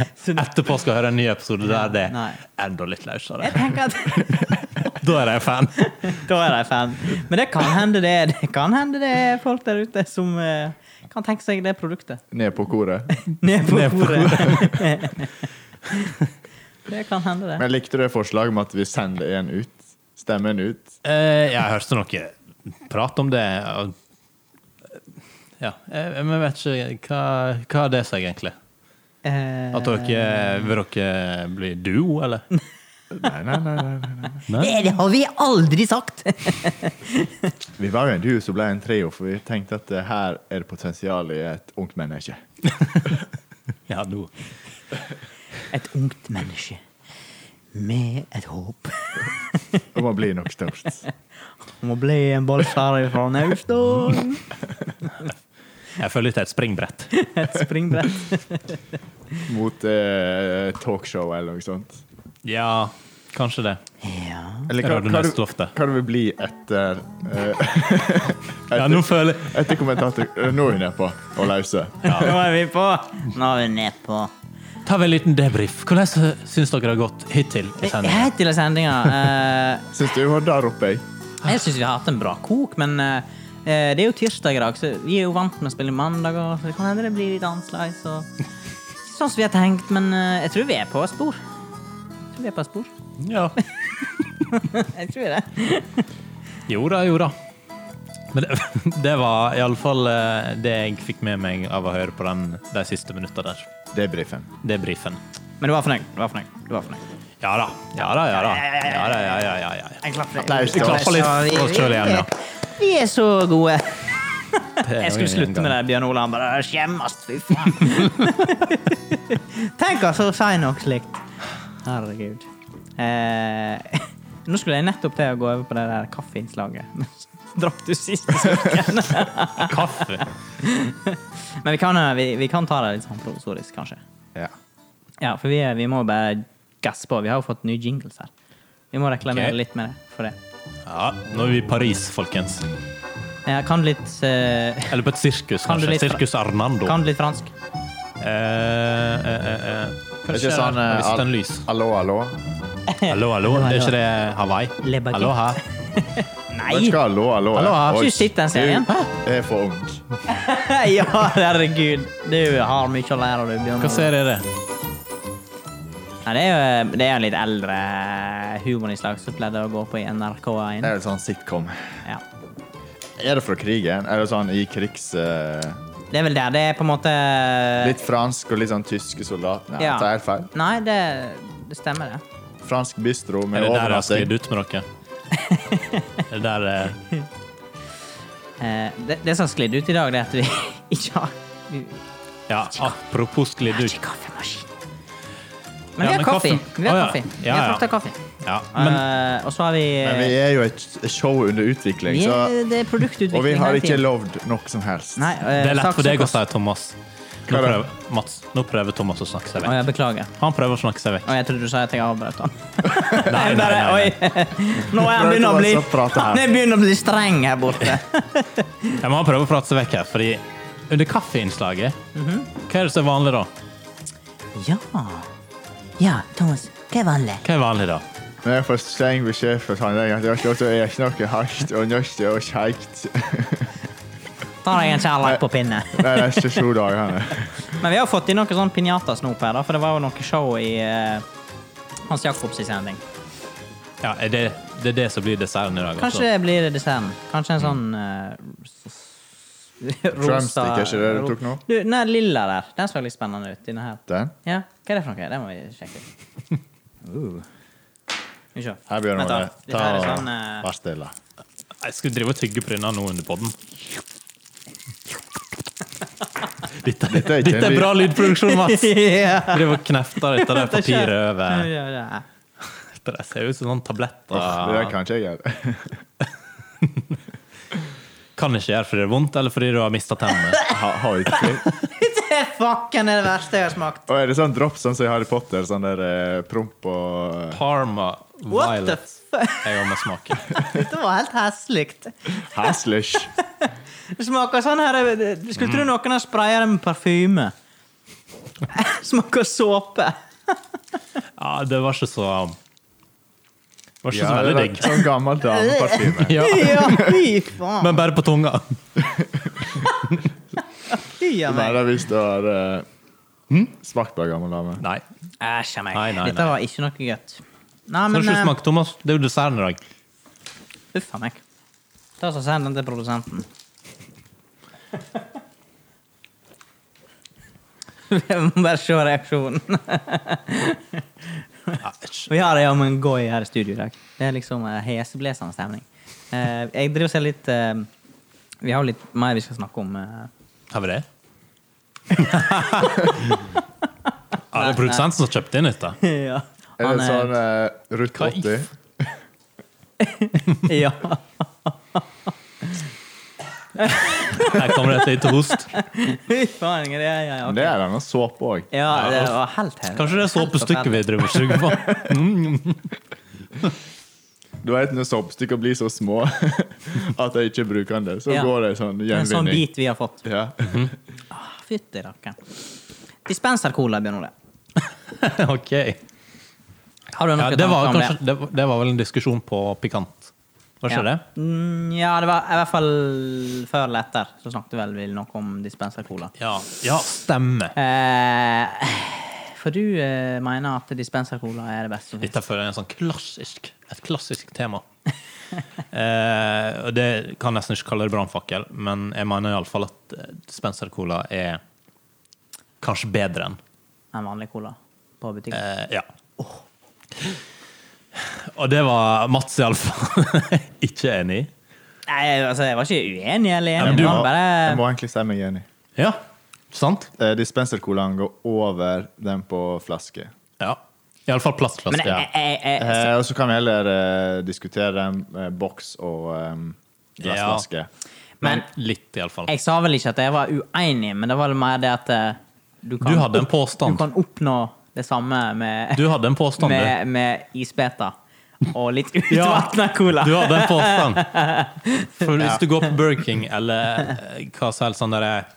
etterpå skal høre en ny episode der det Nei. er enda litt løsere. [laughs] Jeg tenker at [laughs] Da er jeg fan. Da er de fan. Men det kan hende det er, det kan hende det er folk der ute som eh, kan tenke seg det produktet. Ned på koret? Ned på Ned på bordet. [laughs] Det kan hende, det. Men likte du forslaget om at vi sender en ut? Stemmer en ut? Eh, Jeg hørte noe prat om det. og- Ja, eh, men jeg vet ikke hva, hva er det seg egentlig. Eh, At dere Vil dere bli duo, [laughs] eller? Nei, nei, nei. nei, nei. Nei? Eh, det har vi aldri sagt! Vi var jo en duo som ble en trio, for vi tenkte at eh, her er det potensial i et ungt menneske. Ja, nå. Et ungt menneske med et håp Om å bli noe stort. om å bli en ballskjærer fra Naustdal. Jeg føler litt det er et springbrett. Et springbrett. Mot eh, talkshow eller noe sånt. Ja, kanskje det. Ja. Eller hva, Radio hva, du, Nestofte. hva du vil bli etter eh, [laughs] Ja, nå føler jeg Etter kommentator eh, Nå er vi nedpå og løse. Nå er vi på! Nå er vi nedpå. Tar vi en liten debrief. Hvordan syns dere det har gått hittil i sendingen? Helt til sendinga. Eh, Syns du vi var der oppe, jeg? jeg syns vi har hatt en bra kok, men eh, eh, det er jo tirsdag i dag, så vi er jo vant med å spille mandag, og så det kan hende det blir litt annerledes. og- Sånn som vi har tenkt, men eh, jeg tror vi er på spor. Jeg tror vi er på spor. Ja. Jeg tror det. Jo da, jo da. Men det, [laughs] det var iallfall eh, det jeg fikk med meg av å høre på den de siste minutta der. Debrifen. Debrifen. Men du var fornøyd. Du var fornøyd. Du var fornøyd. Ja da. Ja da, ja da. Ja da, ja, ja, ja, ja. [laughs] Jeg klapper. Applaus til Vi oss. klapper litt for oss sjøl igjen, ja. Vi er så gode. Jeg skulle slutte med det, Bjørn Ole. Han bare skjemmes, fy faen. [laughs] Tenk altså å si noe slikt. Herregud. Eh, [laughs] nå skulle jeg nettopp til å gå over på det der kaffeinnslaget, men så [laughs] drakk du siste slurken. Kaffe. [laughs] Men vi kan, eh, vi, vi kan ta det litt sånn provisorisk, kanskje. Ja. Ja, for vi, er- vi må jo bare gasse på. Vi har jo fått nye jingles her. Vi må reklamere Ok. litt med det. For det. Ja, nå er vi i Paris, folkens. Jeg kan litt eh, [laughs] Eller på et sirkus, Kan du kanskje. litt- Sirkus Arnando. Kan litt fransk. Eh, eh, eh, eh. Det er Kanskje ikke sånn eh, hvis den al- lys. [laughs] Hallo, hallo. Hallo, hallo. Det er ikke det Hawaii? Le baguette. Hallo her. Vet Nei! ikke hva hallo, hallo er. Hallo, har Oi, ikke du sett den serien? Du er for ung. [laughs] ja, herregud. Du har mye å lære, du, Bjørn. Hva Ole. ser dere? Nei, det er jo eh, det er jo litt eldre humorinnslag som pleide å gå på i NRK1. Det er jo sånn sitcom. Ja. Er det fra krigen? Er det sånn i krigs... eh, Det er vel der det er på en måte eh, litt fransk og litt sånn tyske soldat? Nei, Ja. det er helt feil. Nei, det, det stemmer, det. Fransk bistro Er med det der jeg har overnatting. sklidd ut med [laughs] dere? Er det der eh, Eh, det, det som har sklidd ut i dag, det er at vi [laughs] ikke har vi Ja, apropos sklidd har ut. ikke kaffemaskin. Men Ja, vi har men kaffe. kaffen- Vi har Å, ja. kaffe. Vi Ja, har ja. frakta kaffe. Ja, men Eh, og så har vi, Men vi er jo et show under utvikling, vi så, er- Det er produktutvikling. og vi har hele ikke tiden. lovd noe som helst. Nei, eh, det er lett for deg å saksøk si, oss. Thomas. Nå Hva da? prøver, Mats, nå prøver Thomas å snakke seg Å, vekk. jeg beklager. Han prøver å snakke seg [laughs] vekk. Og jeg trodde du sa at jeg avbrøt han. Nei, Jeg nei, bare, nei, nei. Oi. [laughs] Nå er han begynner å bli Prøv ikke å prate her. Han er begynner å bli streng her [laughs] borte. Jeg må prøve å prate seg vekk her, fordi under kaffeinnslaget, Mhm. hva er det som er vanlig da? Ja. Ja, Thomas. Hva er vanlig? Hva er vanlig da? Men jeg får streng beskjed fra tannlegen at jeg ikke- jeg er ikke noe hardt og nødt og kjekt. Ta deg en kjærleik på pinne. [laughs] Det er ikke sju dager. her. Men vi har fått inn noen sånn pinjatasnop her, da, for det var jo noe show i eh, Hans Jakobs sending. Ja, er det, det er det som blir desserten i dag. altså? Kanskje det blir desserten. Kanskje en sånn eh, rosa Drumstick, er ikke det du tok nå? Du, den der lilla der, den så litt spennende ut. Denne her. Den? Ja, hva er det for noe? Det må vi sjekke ut. [laughs] Uh. Skal vi se. Her begynner Vent da, man. Dette her er sånn eh, Vær stille. Jeg skulle drive og tygge på denne nå under [laughs] podden. Dette, er dette, ikke en er bra lydproduksjon, Mats! [laughs] ja. Driver og knefter dette der papiret over. Ja, ja, ja. Det der ser ut som sånne Det der tabletter. kan ikke jeg [laughs] gjøre. Kan ikke gjøre fordi det er vondt, eller fordi du har mista tennene. Ha, har ikke ting. Det er fucking det verste jeg har smakt. Og er det sånn drops sånn som i Harry Potter? Sånn der eh, promp og Parma What the Violet. fuck? Jeg må smake. [laughs] Dette var helt hesligt. eh, [laughs] Haslish. Sånn Det smaker sånn her Du skulle Mm. tro noen har spraya det med parfyme. [laughs] smaker såpe. [laughs] Ja, det var ikke så Det var ikke Ja, så det veldig er digg. sånn gammel [laughs] dameparfyme. Ja, Ja, fy faen. men bare på tunga. Fy av meg. Nei, det er hvis du har eh, Hm? smakt på en gammel dame. Nei. Æsj av meg. Nei, nei, Dette nei. var ikke noe godt. Nei, Så har men ikke du eh, smakt, Thomas. Det er jo desserten i dag. Uff a meg. Ta så Send den til produsenten. [laughs] [laughs] Jeg må bare se reaksjonen. Ja, æsj. Vi har det om en goy her i studio i dag. Det er liksom eh, heseblesende stemning. Eh, jeg driver og ser litt eh, Vi har jo litt mer vi skal snakke om. eh. Har vi det? ja, det er produsenten som kjøpte inn dette. ja. Er [laughs] Han det eh, er- sånn uh, Ruth Hva i 80? ja. Her kommer det et lite host. Fy faen, det er ja, ja, ok. Det er denne såpe òg. ja, det var helt her. Kanskje det er såpestykket vi driver og suger på. [laughs] Du vet når såpestykker blir så små [laughs] at jeg ikke bruker den, så Ja. går det sånn En sånn gjenvinning. bit vi har fått. Ja. Ah, Fytti rakkeren. Dispensercola, Bjørn Ole. Ok. Har du noen Ja, det, var tanker om det? kanskje, det, var- det var vel en diskusjon på Pikant. Var ikke det? Mm, ja, det var i hvert fall før eller etter. Så snakket vel vi noe om dispensercola. Ja. ja stemmer. Eh, for du eh, mener at dispensercola er det beste som finnes? Dette føler jeg er en sånn klassisk, et klassisk [laughs] tema. Eh, og det kan jeg nesten ikke kalle det brannfakkel, men jeg mener iallfall at eh, Spencer Cola er kanskje bedre enn enn vanlig cola på butikken? Eh, ja. Og det var Mats iallfall [laughs] ikke enig i. Nei, altså, jeg var ikke uenig eller men enig. du Jeg må, var jeg bare må egentlig si meg enig. Ja, sant? Eh, Dispenser-colaen går over den på flaske. Ja. Iallfall Men plastflaske. jeg, Ja. jeg, jeg, jeg, Eh, og så kan vi heller eh, diskutere den eh, boks og eh, glassflaske. men Litt, iallfall. jeg sa vel ikke at jeg var uenig, men det var vel mer det at eh, du kan, Du hadde en opp- påstand. du kan oppnå det samme med, Du hadde en påstand, du. med, med isbeter og litt [laughs] Ja. utvatna cola. Du hadde en påstand. For hvis du går på Burger King eller eh, hva som helst sånn, der,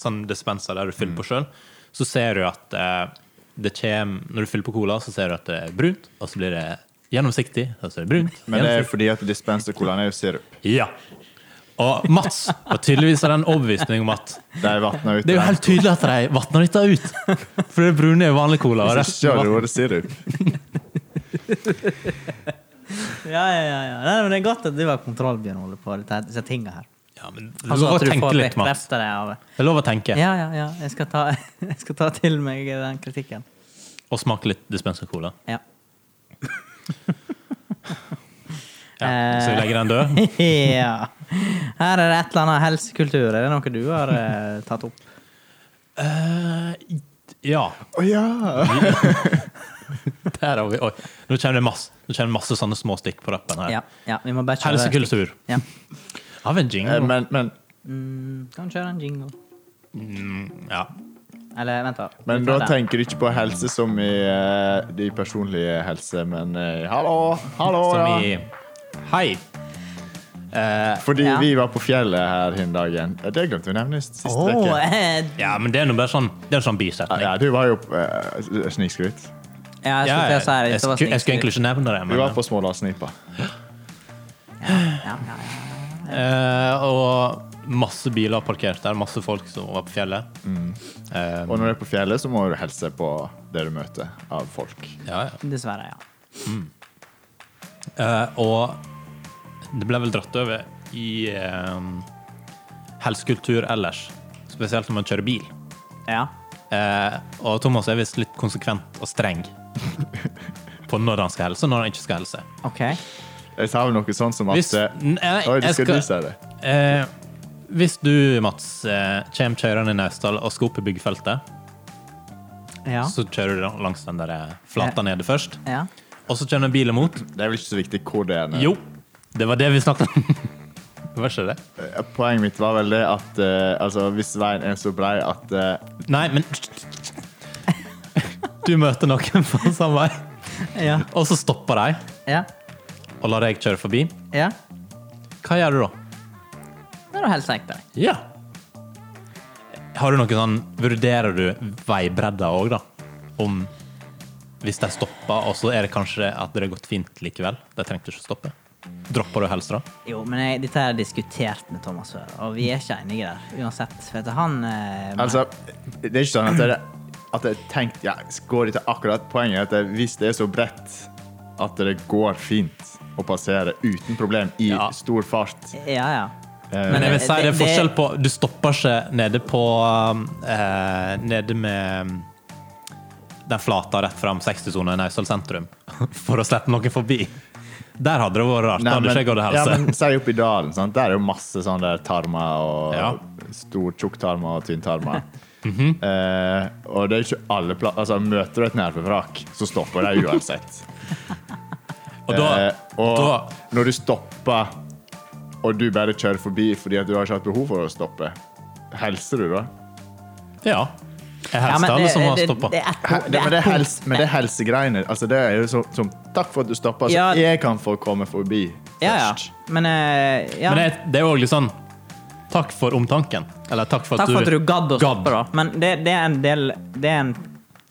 sånn dispenser der du fyller på sjøl, så ser du at eh, det kjem, Når du fyller på cola, så ser du at det er brunt, og så blir det gjennomsiktig, og så er det brunt. Men det er gjennomsiktig. jo fordi at dispenser-colaen er jo sirup. Ja. Og Mats var tydeligvis av den overbevisning om at De vatner ut det er jo den. helt tydelig at de vatner dette ut. For det brune er jo vanlig cola. Og Hvis resten ikke hadde var- det vært sirup. [laughs] Ja, ja, ja, ja. Nei, men det er godt at du har kontroll, Bjørn Ole, på dette- disse tinga her. ja, men det er Altså, lov at å du tenke får litt, Mats. bekreftet det av Det er lov å tenke. Ja, ja, ja. Jeg skal ta, [laughs] jeg skal ta til meg den kritikken. Og smake litt dispenser cola. Ja. Ja, så vi legger den død. ja. Her er det et eller annet helsekultur. Er det noe du har eh, tatt opp? Eh, ja. Å ja! Der har vi Oi. Nå kommer det masse, nå kommer det masse sånne små stikk på rappen her. Ja. ja vi må bare kjøre Helsekultur. Ja. Har vi en jingle? Eh, Men, men, Mm, kan kjøre en jingle. Mm, ja. Eller vent, da. men Vi da tar den. tenker du ikke på helse som i eh, de personlige helse, men eh, hallo, hallo, Som ja. i Hei. Eh, Fordi Ja. vi var på fjellet her hin dagen. Eh, Det glemte vi å nevne sist Åh, uke. eh, ja, men det er nå bare sånn Det er en sånn bisetning. Ja, du var jo uh, snikskryt. ja, jeg Ja, skulle til jeg, å si det. jeg, Dette var skulle- jeg skulle egentlig snikskryt. ikke nevne det, Du men var på Smålandsnipa. Ja, ja, ja. eh, Og masse biler parkert der, masse folk som var på fjellet. Eh, Og når du er på fjellet, så må du hilse på det du møter av folk. ja, ja. Dessverre, ja. Eh, og det ble vel dratt over i eh, helsekultur ellers, spesielt når man kjører bil. ja. Eh, og Thomas er visst litt konsekvent og streng på når han skal helse, og når han ikke skal helse. OK. Jeg sa vel noe sånn som at Hvis, eh, nei, Oi, du jeg skal du skal- si det? eh, hvis du, Mats, eh, kommer kjørende i Naustdal og skal opp i byggefeltet, Ja. så kjører du langs den der eh, flata Ja. nede først, ja. og så kommer det en bil imot. Det er vel ikke så viktig hvor det er. nå. Jo, det var det vi snakket om. [laughs] Var ikke det? Eh, Poenget mitt var vel det at eh, altså, hvis veien er så brei at eh, Nei, men Du møter noen på samme vei, Ja. og så stopper de Ja. og lar deg kjøre forbi. ja. Hva gjør du da? Da er du helt sikker. Ja. Har du noe sånn Vurderer du veibredda òg, da? Om hvis de stopper, og så er det kanskje at det har gått fint likevel? De trengte ikke å stoppe. Dropper du helst, da? Jo, men jeg, dette har jeg diskutert med Thomas før, og vi er ikke enige der uansett. For at han eh, Altså, det er ikke sånn at jeg, at jeg tenkte ja, Går det til akkurat poenget? At jeg, hvis det er så bredt at det går fint å passere uten problem i Ja. stor fart Ja, ja. eh, Men jeg vil si det er Det- det- forskjell på Du stopper ikke nede på eh, Nede med mm, den flata rett fram 60-sona i Naustdal sentrum [laughs] for å slippe noen forbi. Der hadde det vært rart. nei, Da hadde ikke men- jeg gått og ja, hilst. men Si oppe i dalen. Sant? Der er jo masse sånne der tarmer og Ja. Mhm. stor tjukktarmer og [laughs] tynntarmer. eh, og det er ikke alle pla- altså, Møter du et nervevrak, så stopper det uansett. Og da, eh, og da når du stopper, og du bare kjører forbi fordi at du har ikke hatt behov for å stoppe, helser du da? Ja. Jeg Ja, men hilste alle det- som har det- stoppa. Det er et He, det, men, punkt- det et er punkt. hels, men det er helsegreiene. Altså, det er jo så, som Takk for at du stoppa, så Ja. jeg kan få komme forbi først. Ja, ja. Men, eh, ja. Men det, det er jo litt sånn Takk for omtanken. Eller takk for at Takk for at du du gadd å Gadd. stoppe, da. Men det, det er en del det er, en,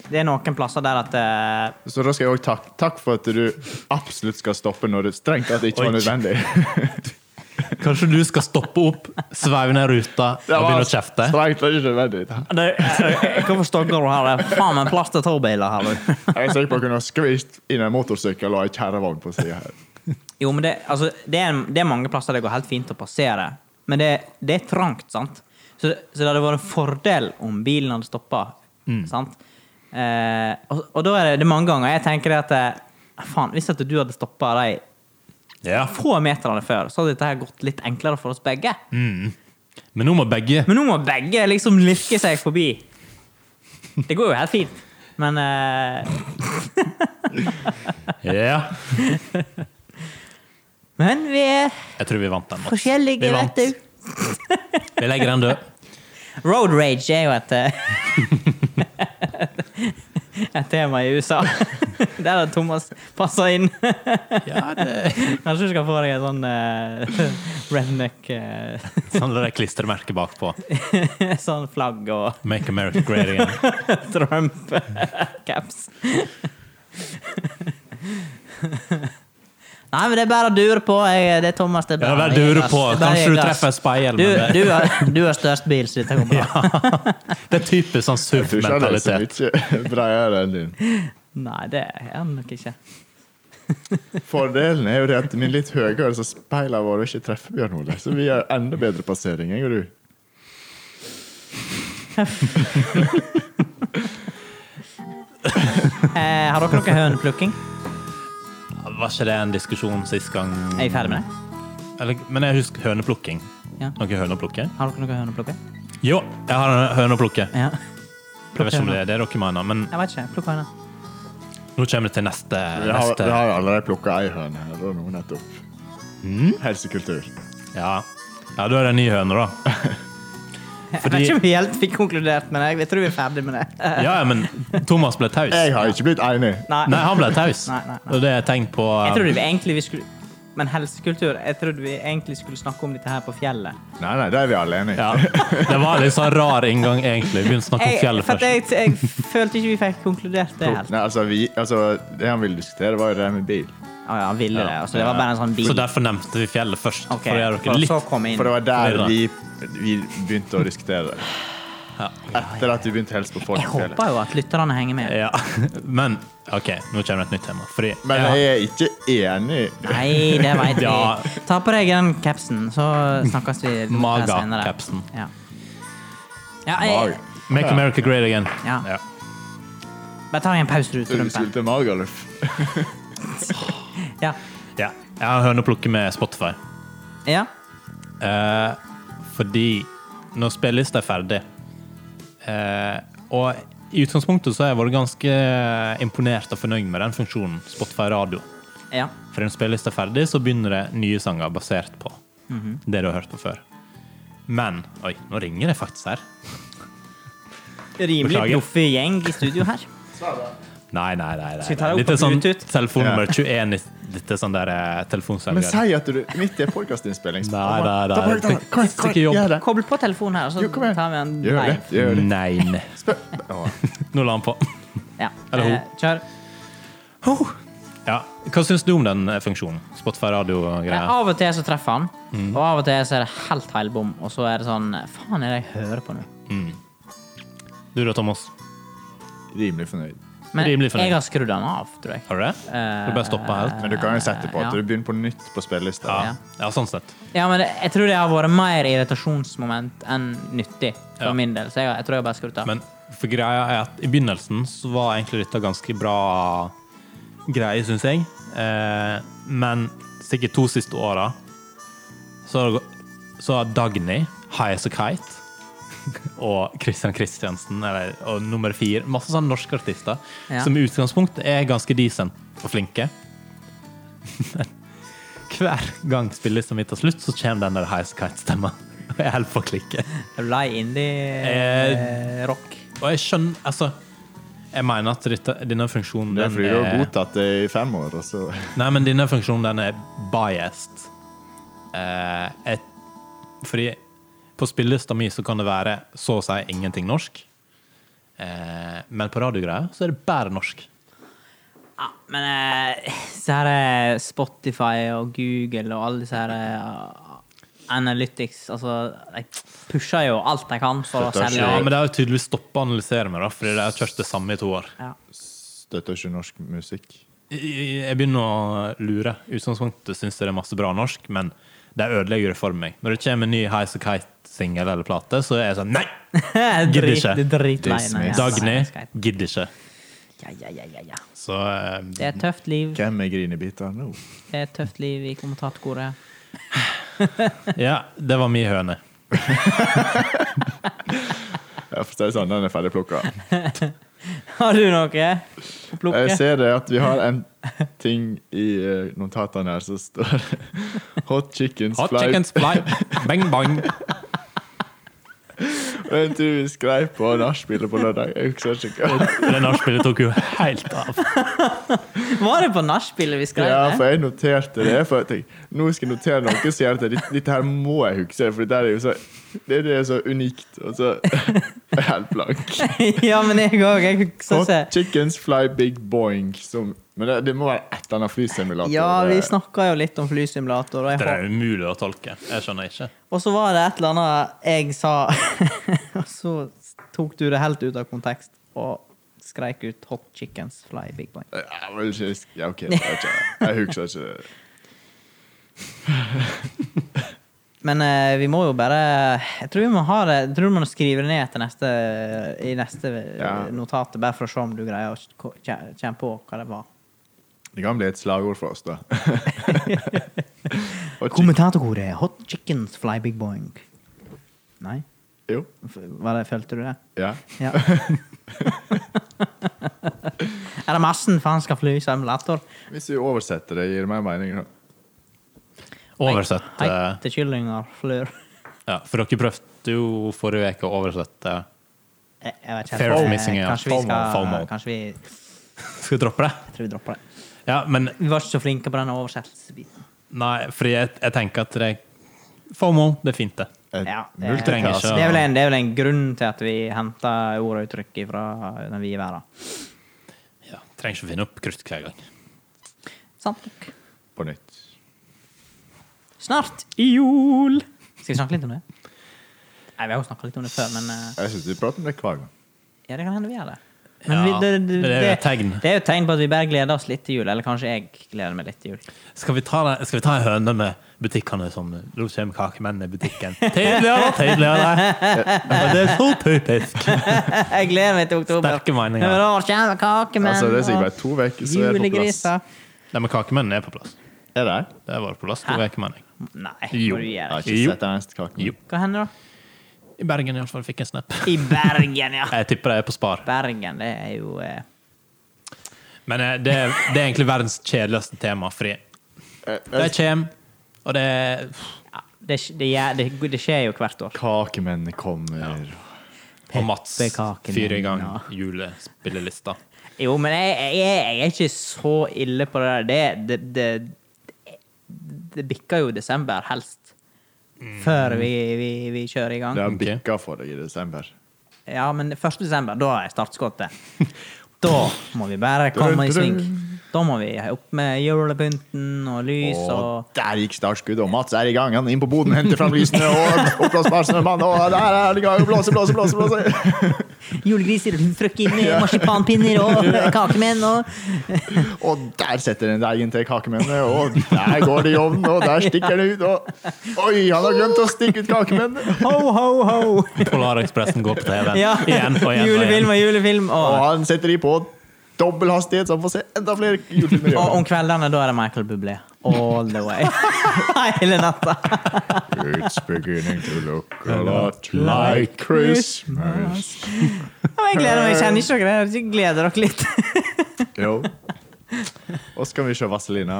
det er noen plasser der at eh, Så da skal jeg òg takke. Takk for at du absolutt skal stoppe når det strengt tatt ikke Oi. var nødvendig. [laughs] Kanskje du skal stoppe opp, sveive ned [laughs] ruta og begynne å kjefte? strengt tatt ikke nødvendig. det, eh, [laughs] Hvorfor stogger du her? Det er faen meg plass til to biler her, du. [laughs] Jeg er sikker på å kunne ha skvist inn en motorsykkel og ei kjerrevogn på sida her. Jo, men det, altså, det, er, det er mange plasser det går helt fint å passere, men det, det er trangt, sant? Så, så det hadde vært en fordel om bilen hadde stoppa. Mm. Sant? Eh, og, og da er det, det er mange ganger jeg tenker det at eh, Faen, hvis at du hadde stoppa de Ja. få meterne før, så hadde dette her gått litt enklere for oss begge. Men nå må begge [laughs] Men nå må begge liksom lirke seg forbi. Det går jo helt fint. Men eh, Ja. Men vi er Jeg tror vi vant den. Mats. forskjellige, Vi vant. vet du. Vi legger den død. Road rage er jo et eh, [laughs] Et tema i USA. [laughs] Der har Thomas passa inn. Ja, det Kanskje du skal få deg en sånn eh, [laughs] redneck eh, [laughs] Sånn det der klistremerket bakpå. Sånn flagg og Make America great [laughs] again. Trump-caps. Nei, men det er bare å dure på. Jeg, det er Thomas. Det er Ja, bare, vær dure jeg- på. det er bare Kanskje du jeg, ass. treffer et speil. Du, men det- du, har, du har størst bil, så dette går [laughs] bra. Det er typisk sånn Jeg tror ikke det er SUV-mentalitet. så mye bredere enn din. Nei, det er han nok ikke. Fordelen er jo det at min litt høyere så speiler våre ikke treffer Bjørn Ole. Så vi har enda bedre passering, jeg og du. Eh, har dere noe høneplukking? Var ikke det en diskusjon sist gang? Er jeg ferdig med det? Eller, men jeg husker høneplukking. Ja. Noe høneplukke? Har dere noe høneplukking? Jo, jeg har en høne å plukke. Ja. Jeg vet ikke om det er det dere mener, men [laughs] Jeg vet ikke. Plukk høna. nå kommer det til neste. Vi har, vi neste. har allerede plukka ei høne her og nå nettopp. Mm? Helsekultur. Ja. ja, da er det en ny høne, da. [laughs] Jeg vet Fordi- ikke om vi helt fikk konkludert med det. Jeg tror vi er ferdig med det. [laughs] Eh, Ja, ja, men Thomas ble taus. Jeg har ikke blitt enig. Nei. Nei, han ble taus. Nei, nei, nei. Og det er et tegn på Jeg trodde vi egentlig vi skulle Men helsekultur Jeg trodde vi egentlig skulle snakke om dette her på fjellet. Nei, nei, det er vi alle enig i. ja. Det var litt sånn rar inngang, egentlig. Begynte å snakke om Jeg, fjellet for at først. jeg, jeg følte ikke vi fikk konkludert det helt. Nei, altså, vi, altså, det han ville diskutere, var jo det med bil. Å ja, han ville det. Altså, det var bare en sånn bil. Så derfor nevnte vi fjellet først. Ok, For å gjøre dere for så litt kom jeg inn. For det var der Fordi vi, vi begynte å diskutere det. Ja. Etter at vi begynte å hilse på folk. Jeg på fjellet. håper jo at lytterne henger med. Ja, [laughs] men OK, nå kommer det et nytt tema. Fordi Men ja, jeg er ikke enig. Nei, det veit [laughs] vi. Ja. Ta på deg den capsen, så snakkes vi litt [laughs] Maga senere. capsen. Ja. Ja, jeg, Make America Great Again. Ja. bare tar en pause rundt Du skulle rumpen. til Magaluf. Ja. Ja. Jeg har en høne å plukke med Spotify. ja. Eh, fordi når spillelista er ferdig eh, Og i utgangspunktet så har jeg vært ganske imponert og fornøyd med den funksjonen, Spotify radio. ja. For når spillelista er ferdig, så begynner det nye sanger basert på Mhm. det du har hørt på før. Men Oi, nå ringer det faktisk her. Rimelig Beklager. proffe gjeng i studio her. Nei, nei, nei. nei. Skal vi ta det opp Dette er på sånn Bluetooth? telefonnummer Ja. 21 i- Dette er sånn der eh, telefonselger. Men si at du midt i en podkastinnspilling Nei, nei, nei. Ikke jobb. Gjør det. Kobl på telefonen her, og så Jo, kom igjen. tar vi en Gjør det. Gjør det. Nei, nei. Spør. Å, Nå la han på. [laughs] Ja. Eller ho. Eh, kjør. Ja. Hva syns du om den eh, funksjonen? Spotify Eh, radio-greia? Av og til så treffer han, og av og til så er det helt heilbom. Og så er det sånn Faen, er det jeg hører på nå? Du da, Thomas? Rimelig fornøyd. Men Rimelig fornøyd. jeg har skrudd han av, tror jeg. Har du det? Du bare stoppa helt? Men du kan jo sette på at Ja. du begynner på nytt på spillelista. Ja. ja, sånn sett. Ja, men det, jeg tror det har vært mer irritasjonsmoment enn nyttig for Ja. min del. Så jeg, jeg tror jeg bare skrur av. Men for greia er at i begynnelsen så var egentlig dette ganske bra greie, syns jeg. Eh, men sikkert to siste åra så har det gå- så har Dagny, High As A Kite, [laughs] og Christian Christiansen, eller, og nummer fire Masse sånne norske artister Ja. som i utgangspunktet er ganske decent og flinke. [laughs] Men hver gang liksom spillelista mi tar slutt, så kommer den der High As A Kite-stemma. [laughs] Og jeg holder på å klikke. Lei indie Eh, rock. Og jeg skjønner Altså, jeg mener at dette, denne funksjonen Det er den fordi du har er- godtatt det i fem år, og så Nei, men denne funksjonen den er biased. Eh, et, fordi på spillelista mi så kan det være så å si ingenting norsk. Eh, men på radiogreier så er det bare norsk. Ja, men eh, så her er Spotify og Google og alle disse her eh, Analytics Altså, de pusher jo alt de kan for å Støtter selge. Ja, Men det har jo tydeligvis stoppa å analysere meg, da, fordi de har kjørt det samme i to år. Ja. [laughs] støtter ikke norsk musikk. Jeg jeg begynner å lure. I utgangspunktet syns jeg det er masse bra norsk, men de ødelegger det for meg. Når det kommer en ny Highs og Kite-singel eller plate, så er jeg sånn Nei! Gidder Drit- ikke. det er Dritlei. Dismiss. nei, ja. Dagny Skype. gidder ikke. Ja, ja, ja, ja, ja. Så eh, Det er et tøft liv. Hvem er grinebiter nå? Det er et tøft liv i kommentatkoret. ja, det var min høne. Jeg får si sånn, den er ferdig plukka. [laughs] Har du noe å Jeg plukke? ser det at vi har en ting i eh, notatene her som står Hot chickens Hot fly. chicken fly, bang bang. Det er en tur vi skrev på nachspielet på lørdag. Jeg husker ikke hva. [laughs] Det nachspielet tok jo helt av. Var det på nachspielet vi skrev Ja, det? for jeg noterte det. For jeg tenkte, nå skal jeg notere noe som gjør at dette, dette her må jeg huske. For det er jo så, det er det er så unikt. Og så [laughs] er jeg helt [laughs] blank. ja, men jeg òg. Jeg husker Hot ikke. chickens fly big boing. Som, men det, det må være et eller annet flysimulator. Ja, vi snakka jo litt om flysimulator, og, jeg Det hå- er umulig å tolke. Jeg skjønner ikke. og så var det et eller annet jeg sa, [laughs] og så tok du det helt ut av kontekst og skreik ut 'Hot chickens fly big boy'. Ja, men ikke- ja, ok. Jeg, jeg husker ikke det. Men eh, vi må jo bare Jeg tror vi må ha det Jeg tror vi må skrive det ned til neste, i neste Ja. notat, bare for å se om du greier å k- kje- kjenne på hva det var. Det kan bli et slagord for oss, [laughs] da. Og chick- Kommentatorkoret 'Hot chickens fly big boing'. Nei? Jo. F- Var det, følte du det? Ja. [laughs] Ja. er det massen for han skal fly i simulator? Hvis vi oversetter det, gir det mer mening. da. Oversett. Hei, eh, til kyllinger flyr. Ja, for dere prøvde jo forrige uke å oversette. Jeg, jeg vet ikke. Fear of Eh, missing out. Kanskje vi skal FOMO, FOMO. Kanskje vi, Skal vi droppe det? jeg tror vi dropper det. Ja, men Vi var ikke så flinke på den oversettelsesbiten. nei, fordi jeg, jeg tenker at det FOMO, det er fint, det. Et Ja, det, multitask. trenger ikke å- det, er vel en, det er vel en grunn til at vi henter ord og uttrykk fra den vide verden. Ja, trenger ikke å finne opp krutt hver gang. Sant nok. på nytt. Snart i jul! Skal vi snakke litt om det? Nei, vi har jo snakka litt om det før, men eh, Jeg syns vi prater om det hver gang. ja, det kan hende vi gjør det. Ja, men det er jo et tegn. Det er jo et tegn på at vi bare gleder oss litt til jul. Eller kanskje jeg gleder meg litt til jul. [laughs] Skal vi ta, det- skal vi ta en høne med butikkene som sånn, Nå kommer kakemennene i butikken. Tidligere, tidligere. Og det er så typisk. Jeg gleder meg til oktober. Sterke meninger. Nå kommer kakemenn Altså, det er og sikkert bare to uker, så er det på plass. julegriser. Nei, men kakemennene er på plass. Er det? Det har vært på plass to uker, mener jeg. Nei, Jo. må du Jeg gjøre har det. ikke Jo. sett den eneste kaken. Jo. Hva hender da? I Bergen i hvert fall fikk jeg en snap. I Bergen, [laughs] ja. Jeg tipper de er på Spar. Bergen, det er jo eh, Men eh, det, er- det er egentlig verdens kjedeligste tema, fordi Eh, de eh, kommer, og det er ja, det, det, gjør- det, det skjer jo hvert år. Kakemennene kommer. Og Mats Pepperkakene, fyrer i gang ja. julespillelista. Jo, men jeg, jeg, jeg er ikke så ille på det der. Det, det, det, det bikker jo desember, helst. Før vi, vi, vi kjører i gang. Det har Ok. bikka for deg i desember. Ja, men 1. desember, da er startskuddet. Da må vi [laughs] bare komme i sving. Da må vi opp med julepynten og lys Og og der gikk startskuddet, og Mats er i gang. Han er inn på boden, henter fram lysene og oppblåsbar snømann. Og der er han i gang! Blåse, blåse, blåse! blåse. Julegriser, [laughs] frøkkener, marsipanpinner og kakemenn og Og der setter den deigen til kakemennene, og der går det i ovnen, og der stikker den ut, og Oi, han har glemt å stikke ut kakemennene! ho, ho, ho! Polarekspressen går på TV Ja. igjen og igjen. Og igjen. Julefilm og julefilm. Og Og, han setter de på dobbel hastighet, så han får se enda flere julefilmer. i og om år. kveldene, da er det Michael Bublé. All the way. [laughs] Hele natta. It's beginning to look a lot like Christmas. Og jeg gleder meg. Jeg kjenner ikke dere. Jeg gleder dere litt. Jo. Og så kan vi se Vazelina.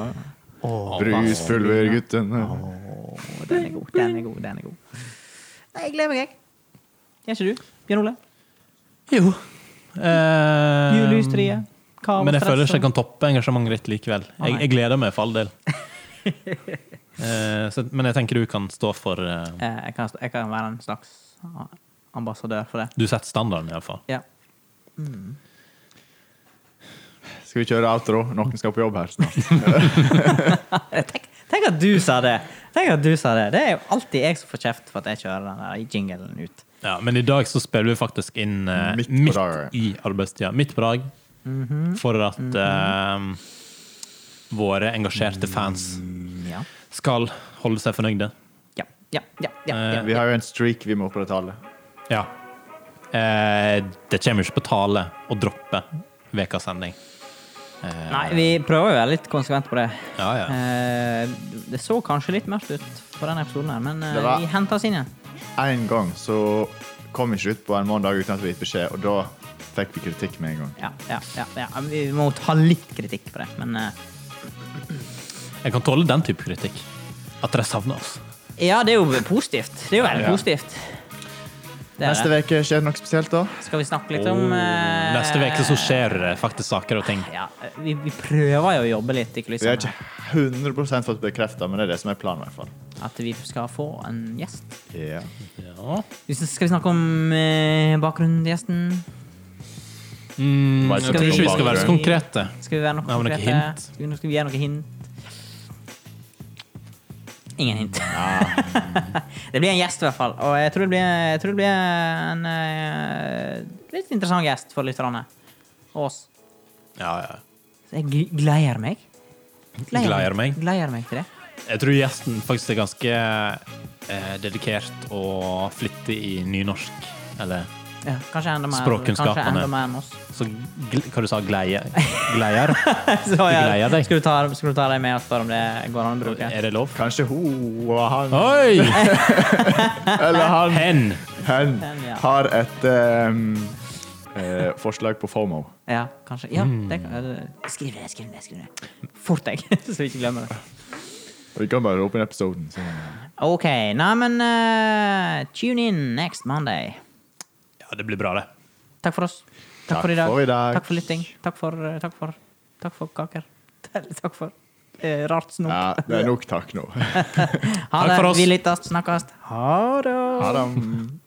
Åh, Bruspulver, guttene. Å, den er god, den er god, den er god. Nei, Jeg gleder meg, jeg. Gjør ikke du? Bjørn Ole? Jo. Eh, Julehysteriet. Kaos, Men jeg føler ikke stress og- jeg kan toppe engasjementet ditt likevel. Jeg, jeg gleder meg for all del. Eh, så, men jeg tenker du kan stå for eh, Eh, jeg kan, jeg kan være en slags ah, ambassadør for det. Du setter standarden, iallfall. Ja. Skal vi kjøre outro? Noen skal på jobb her snart. Eh, Tenk, tenk at du sa det! Tenk at du sa Det Det er jo alltid jeg som får kjeft for at jeg kjører den der jinglen ut. Ja, men i dag så spiller vi faktisk inn eh, Midt midt, på dagen. i arbeidstida. Midt på dag. For at eh, våre engasjerte fans Mm, Ja. skal holde seg fornøyde. Ja, ja, ja, ja, Eh, Vi ja. har jo en streak vi må opprettholde. Ja. Eh, det kommer jo ikke på tale å droppe ukas sending. Eh, Nei, vi prøver jo å være litt konsekvent på det. Ja, ja. Eh, det så kanskje litt mørkt ut på den episoden her, men eh, Det var- vi henter oss inn igjen. En gang så kom vi ikke ut på en mandag uten at vi fikk beskjed, og da fikk vi kritikk med en gang. Ja, ja, ja, ja. Vi må ta litt kritikk på det, men eh, Jeg kan tåle den type kritikk. At dere savner oss. Ja, det er jo positivt. Det er jo veldig Ja. positivt. Det er Neste Oh, det. uke skjer det noe spesielt, da. Skal vi snakke litt om Og eh, Neste uke så skjer det faktisk saker og ting. Ja, vi, vi prøver jo å jobbe litt i Vi har kulissene. ikke 100 fått bekrefta, men det er det som er planen, i hvert fall. At vi skal få en gjest. Ja. Ja. Hvis- Skal vi snakke om eh, bakgrunnen til gjesten? Mm, Hva er det jeg tror som ikke vi skal kommer? være så konkrete. Skal vi være noe Har vi noe konkrete? hint? Skal vi, skal vi gi noe hint? Ingen hint. [laughs] det blir en gjest, i hvert fall. Og jeg tror det blir, jeg tror det blir en eh, litt interessant gjest for lytterne. Og oss. Ja, ja. Så jeg gl- gleder meg. Gleder meg. Gleder meg til det. Jeg tror gjesten faktisk er ganske eh, dedikert og flittig i nynorsk. Eller Ja, kanskje enda mer, Språkkunnskapene. Kanskje enda mer enn [laughs] oss. så gl- Hva du sa gleie, [laughs] Gleier? Så, ja, gleder deg. skal, du ta, skal du ta deg med og spørre om det går an å bruke? Er det lov? Kanskje hun og han [laughs] Oi! Eller han, Hen! hen ja. har et ehm, eh, forslag på FOMO. Ja, kanskje. Ja, det kan, Mm. eh, skriv det, skriv det. skriv det. Fort deg, [laughs] så vi ikke glemmer det. Og Vi kan bare åpne episoden. Så. OK. Nei, men eh, tune in next Monday. Ja, det blir bra, det. Takk for oss. Takk Takk, for i dag. for i dag. Takk for lytting. Takk for, eh, takk for, takk for kaker. [laughs] Takk for eh, rart snop. Ja, det er nok takk nå. ha Takk det. for oss. Vi lyttes. Snakkes. Ha det. Ha det.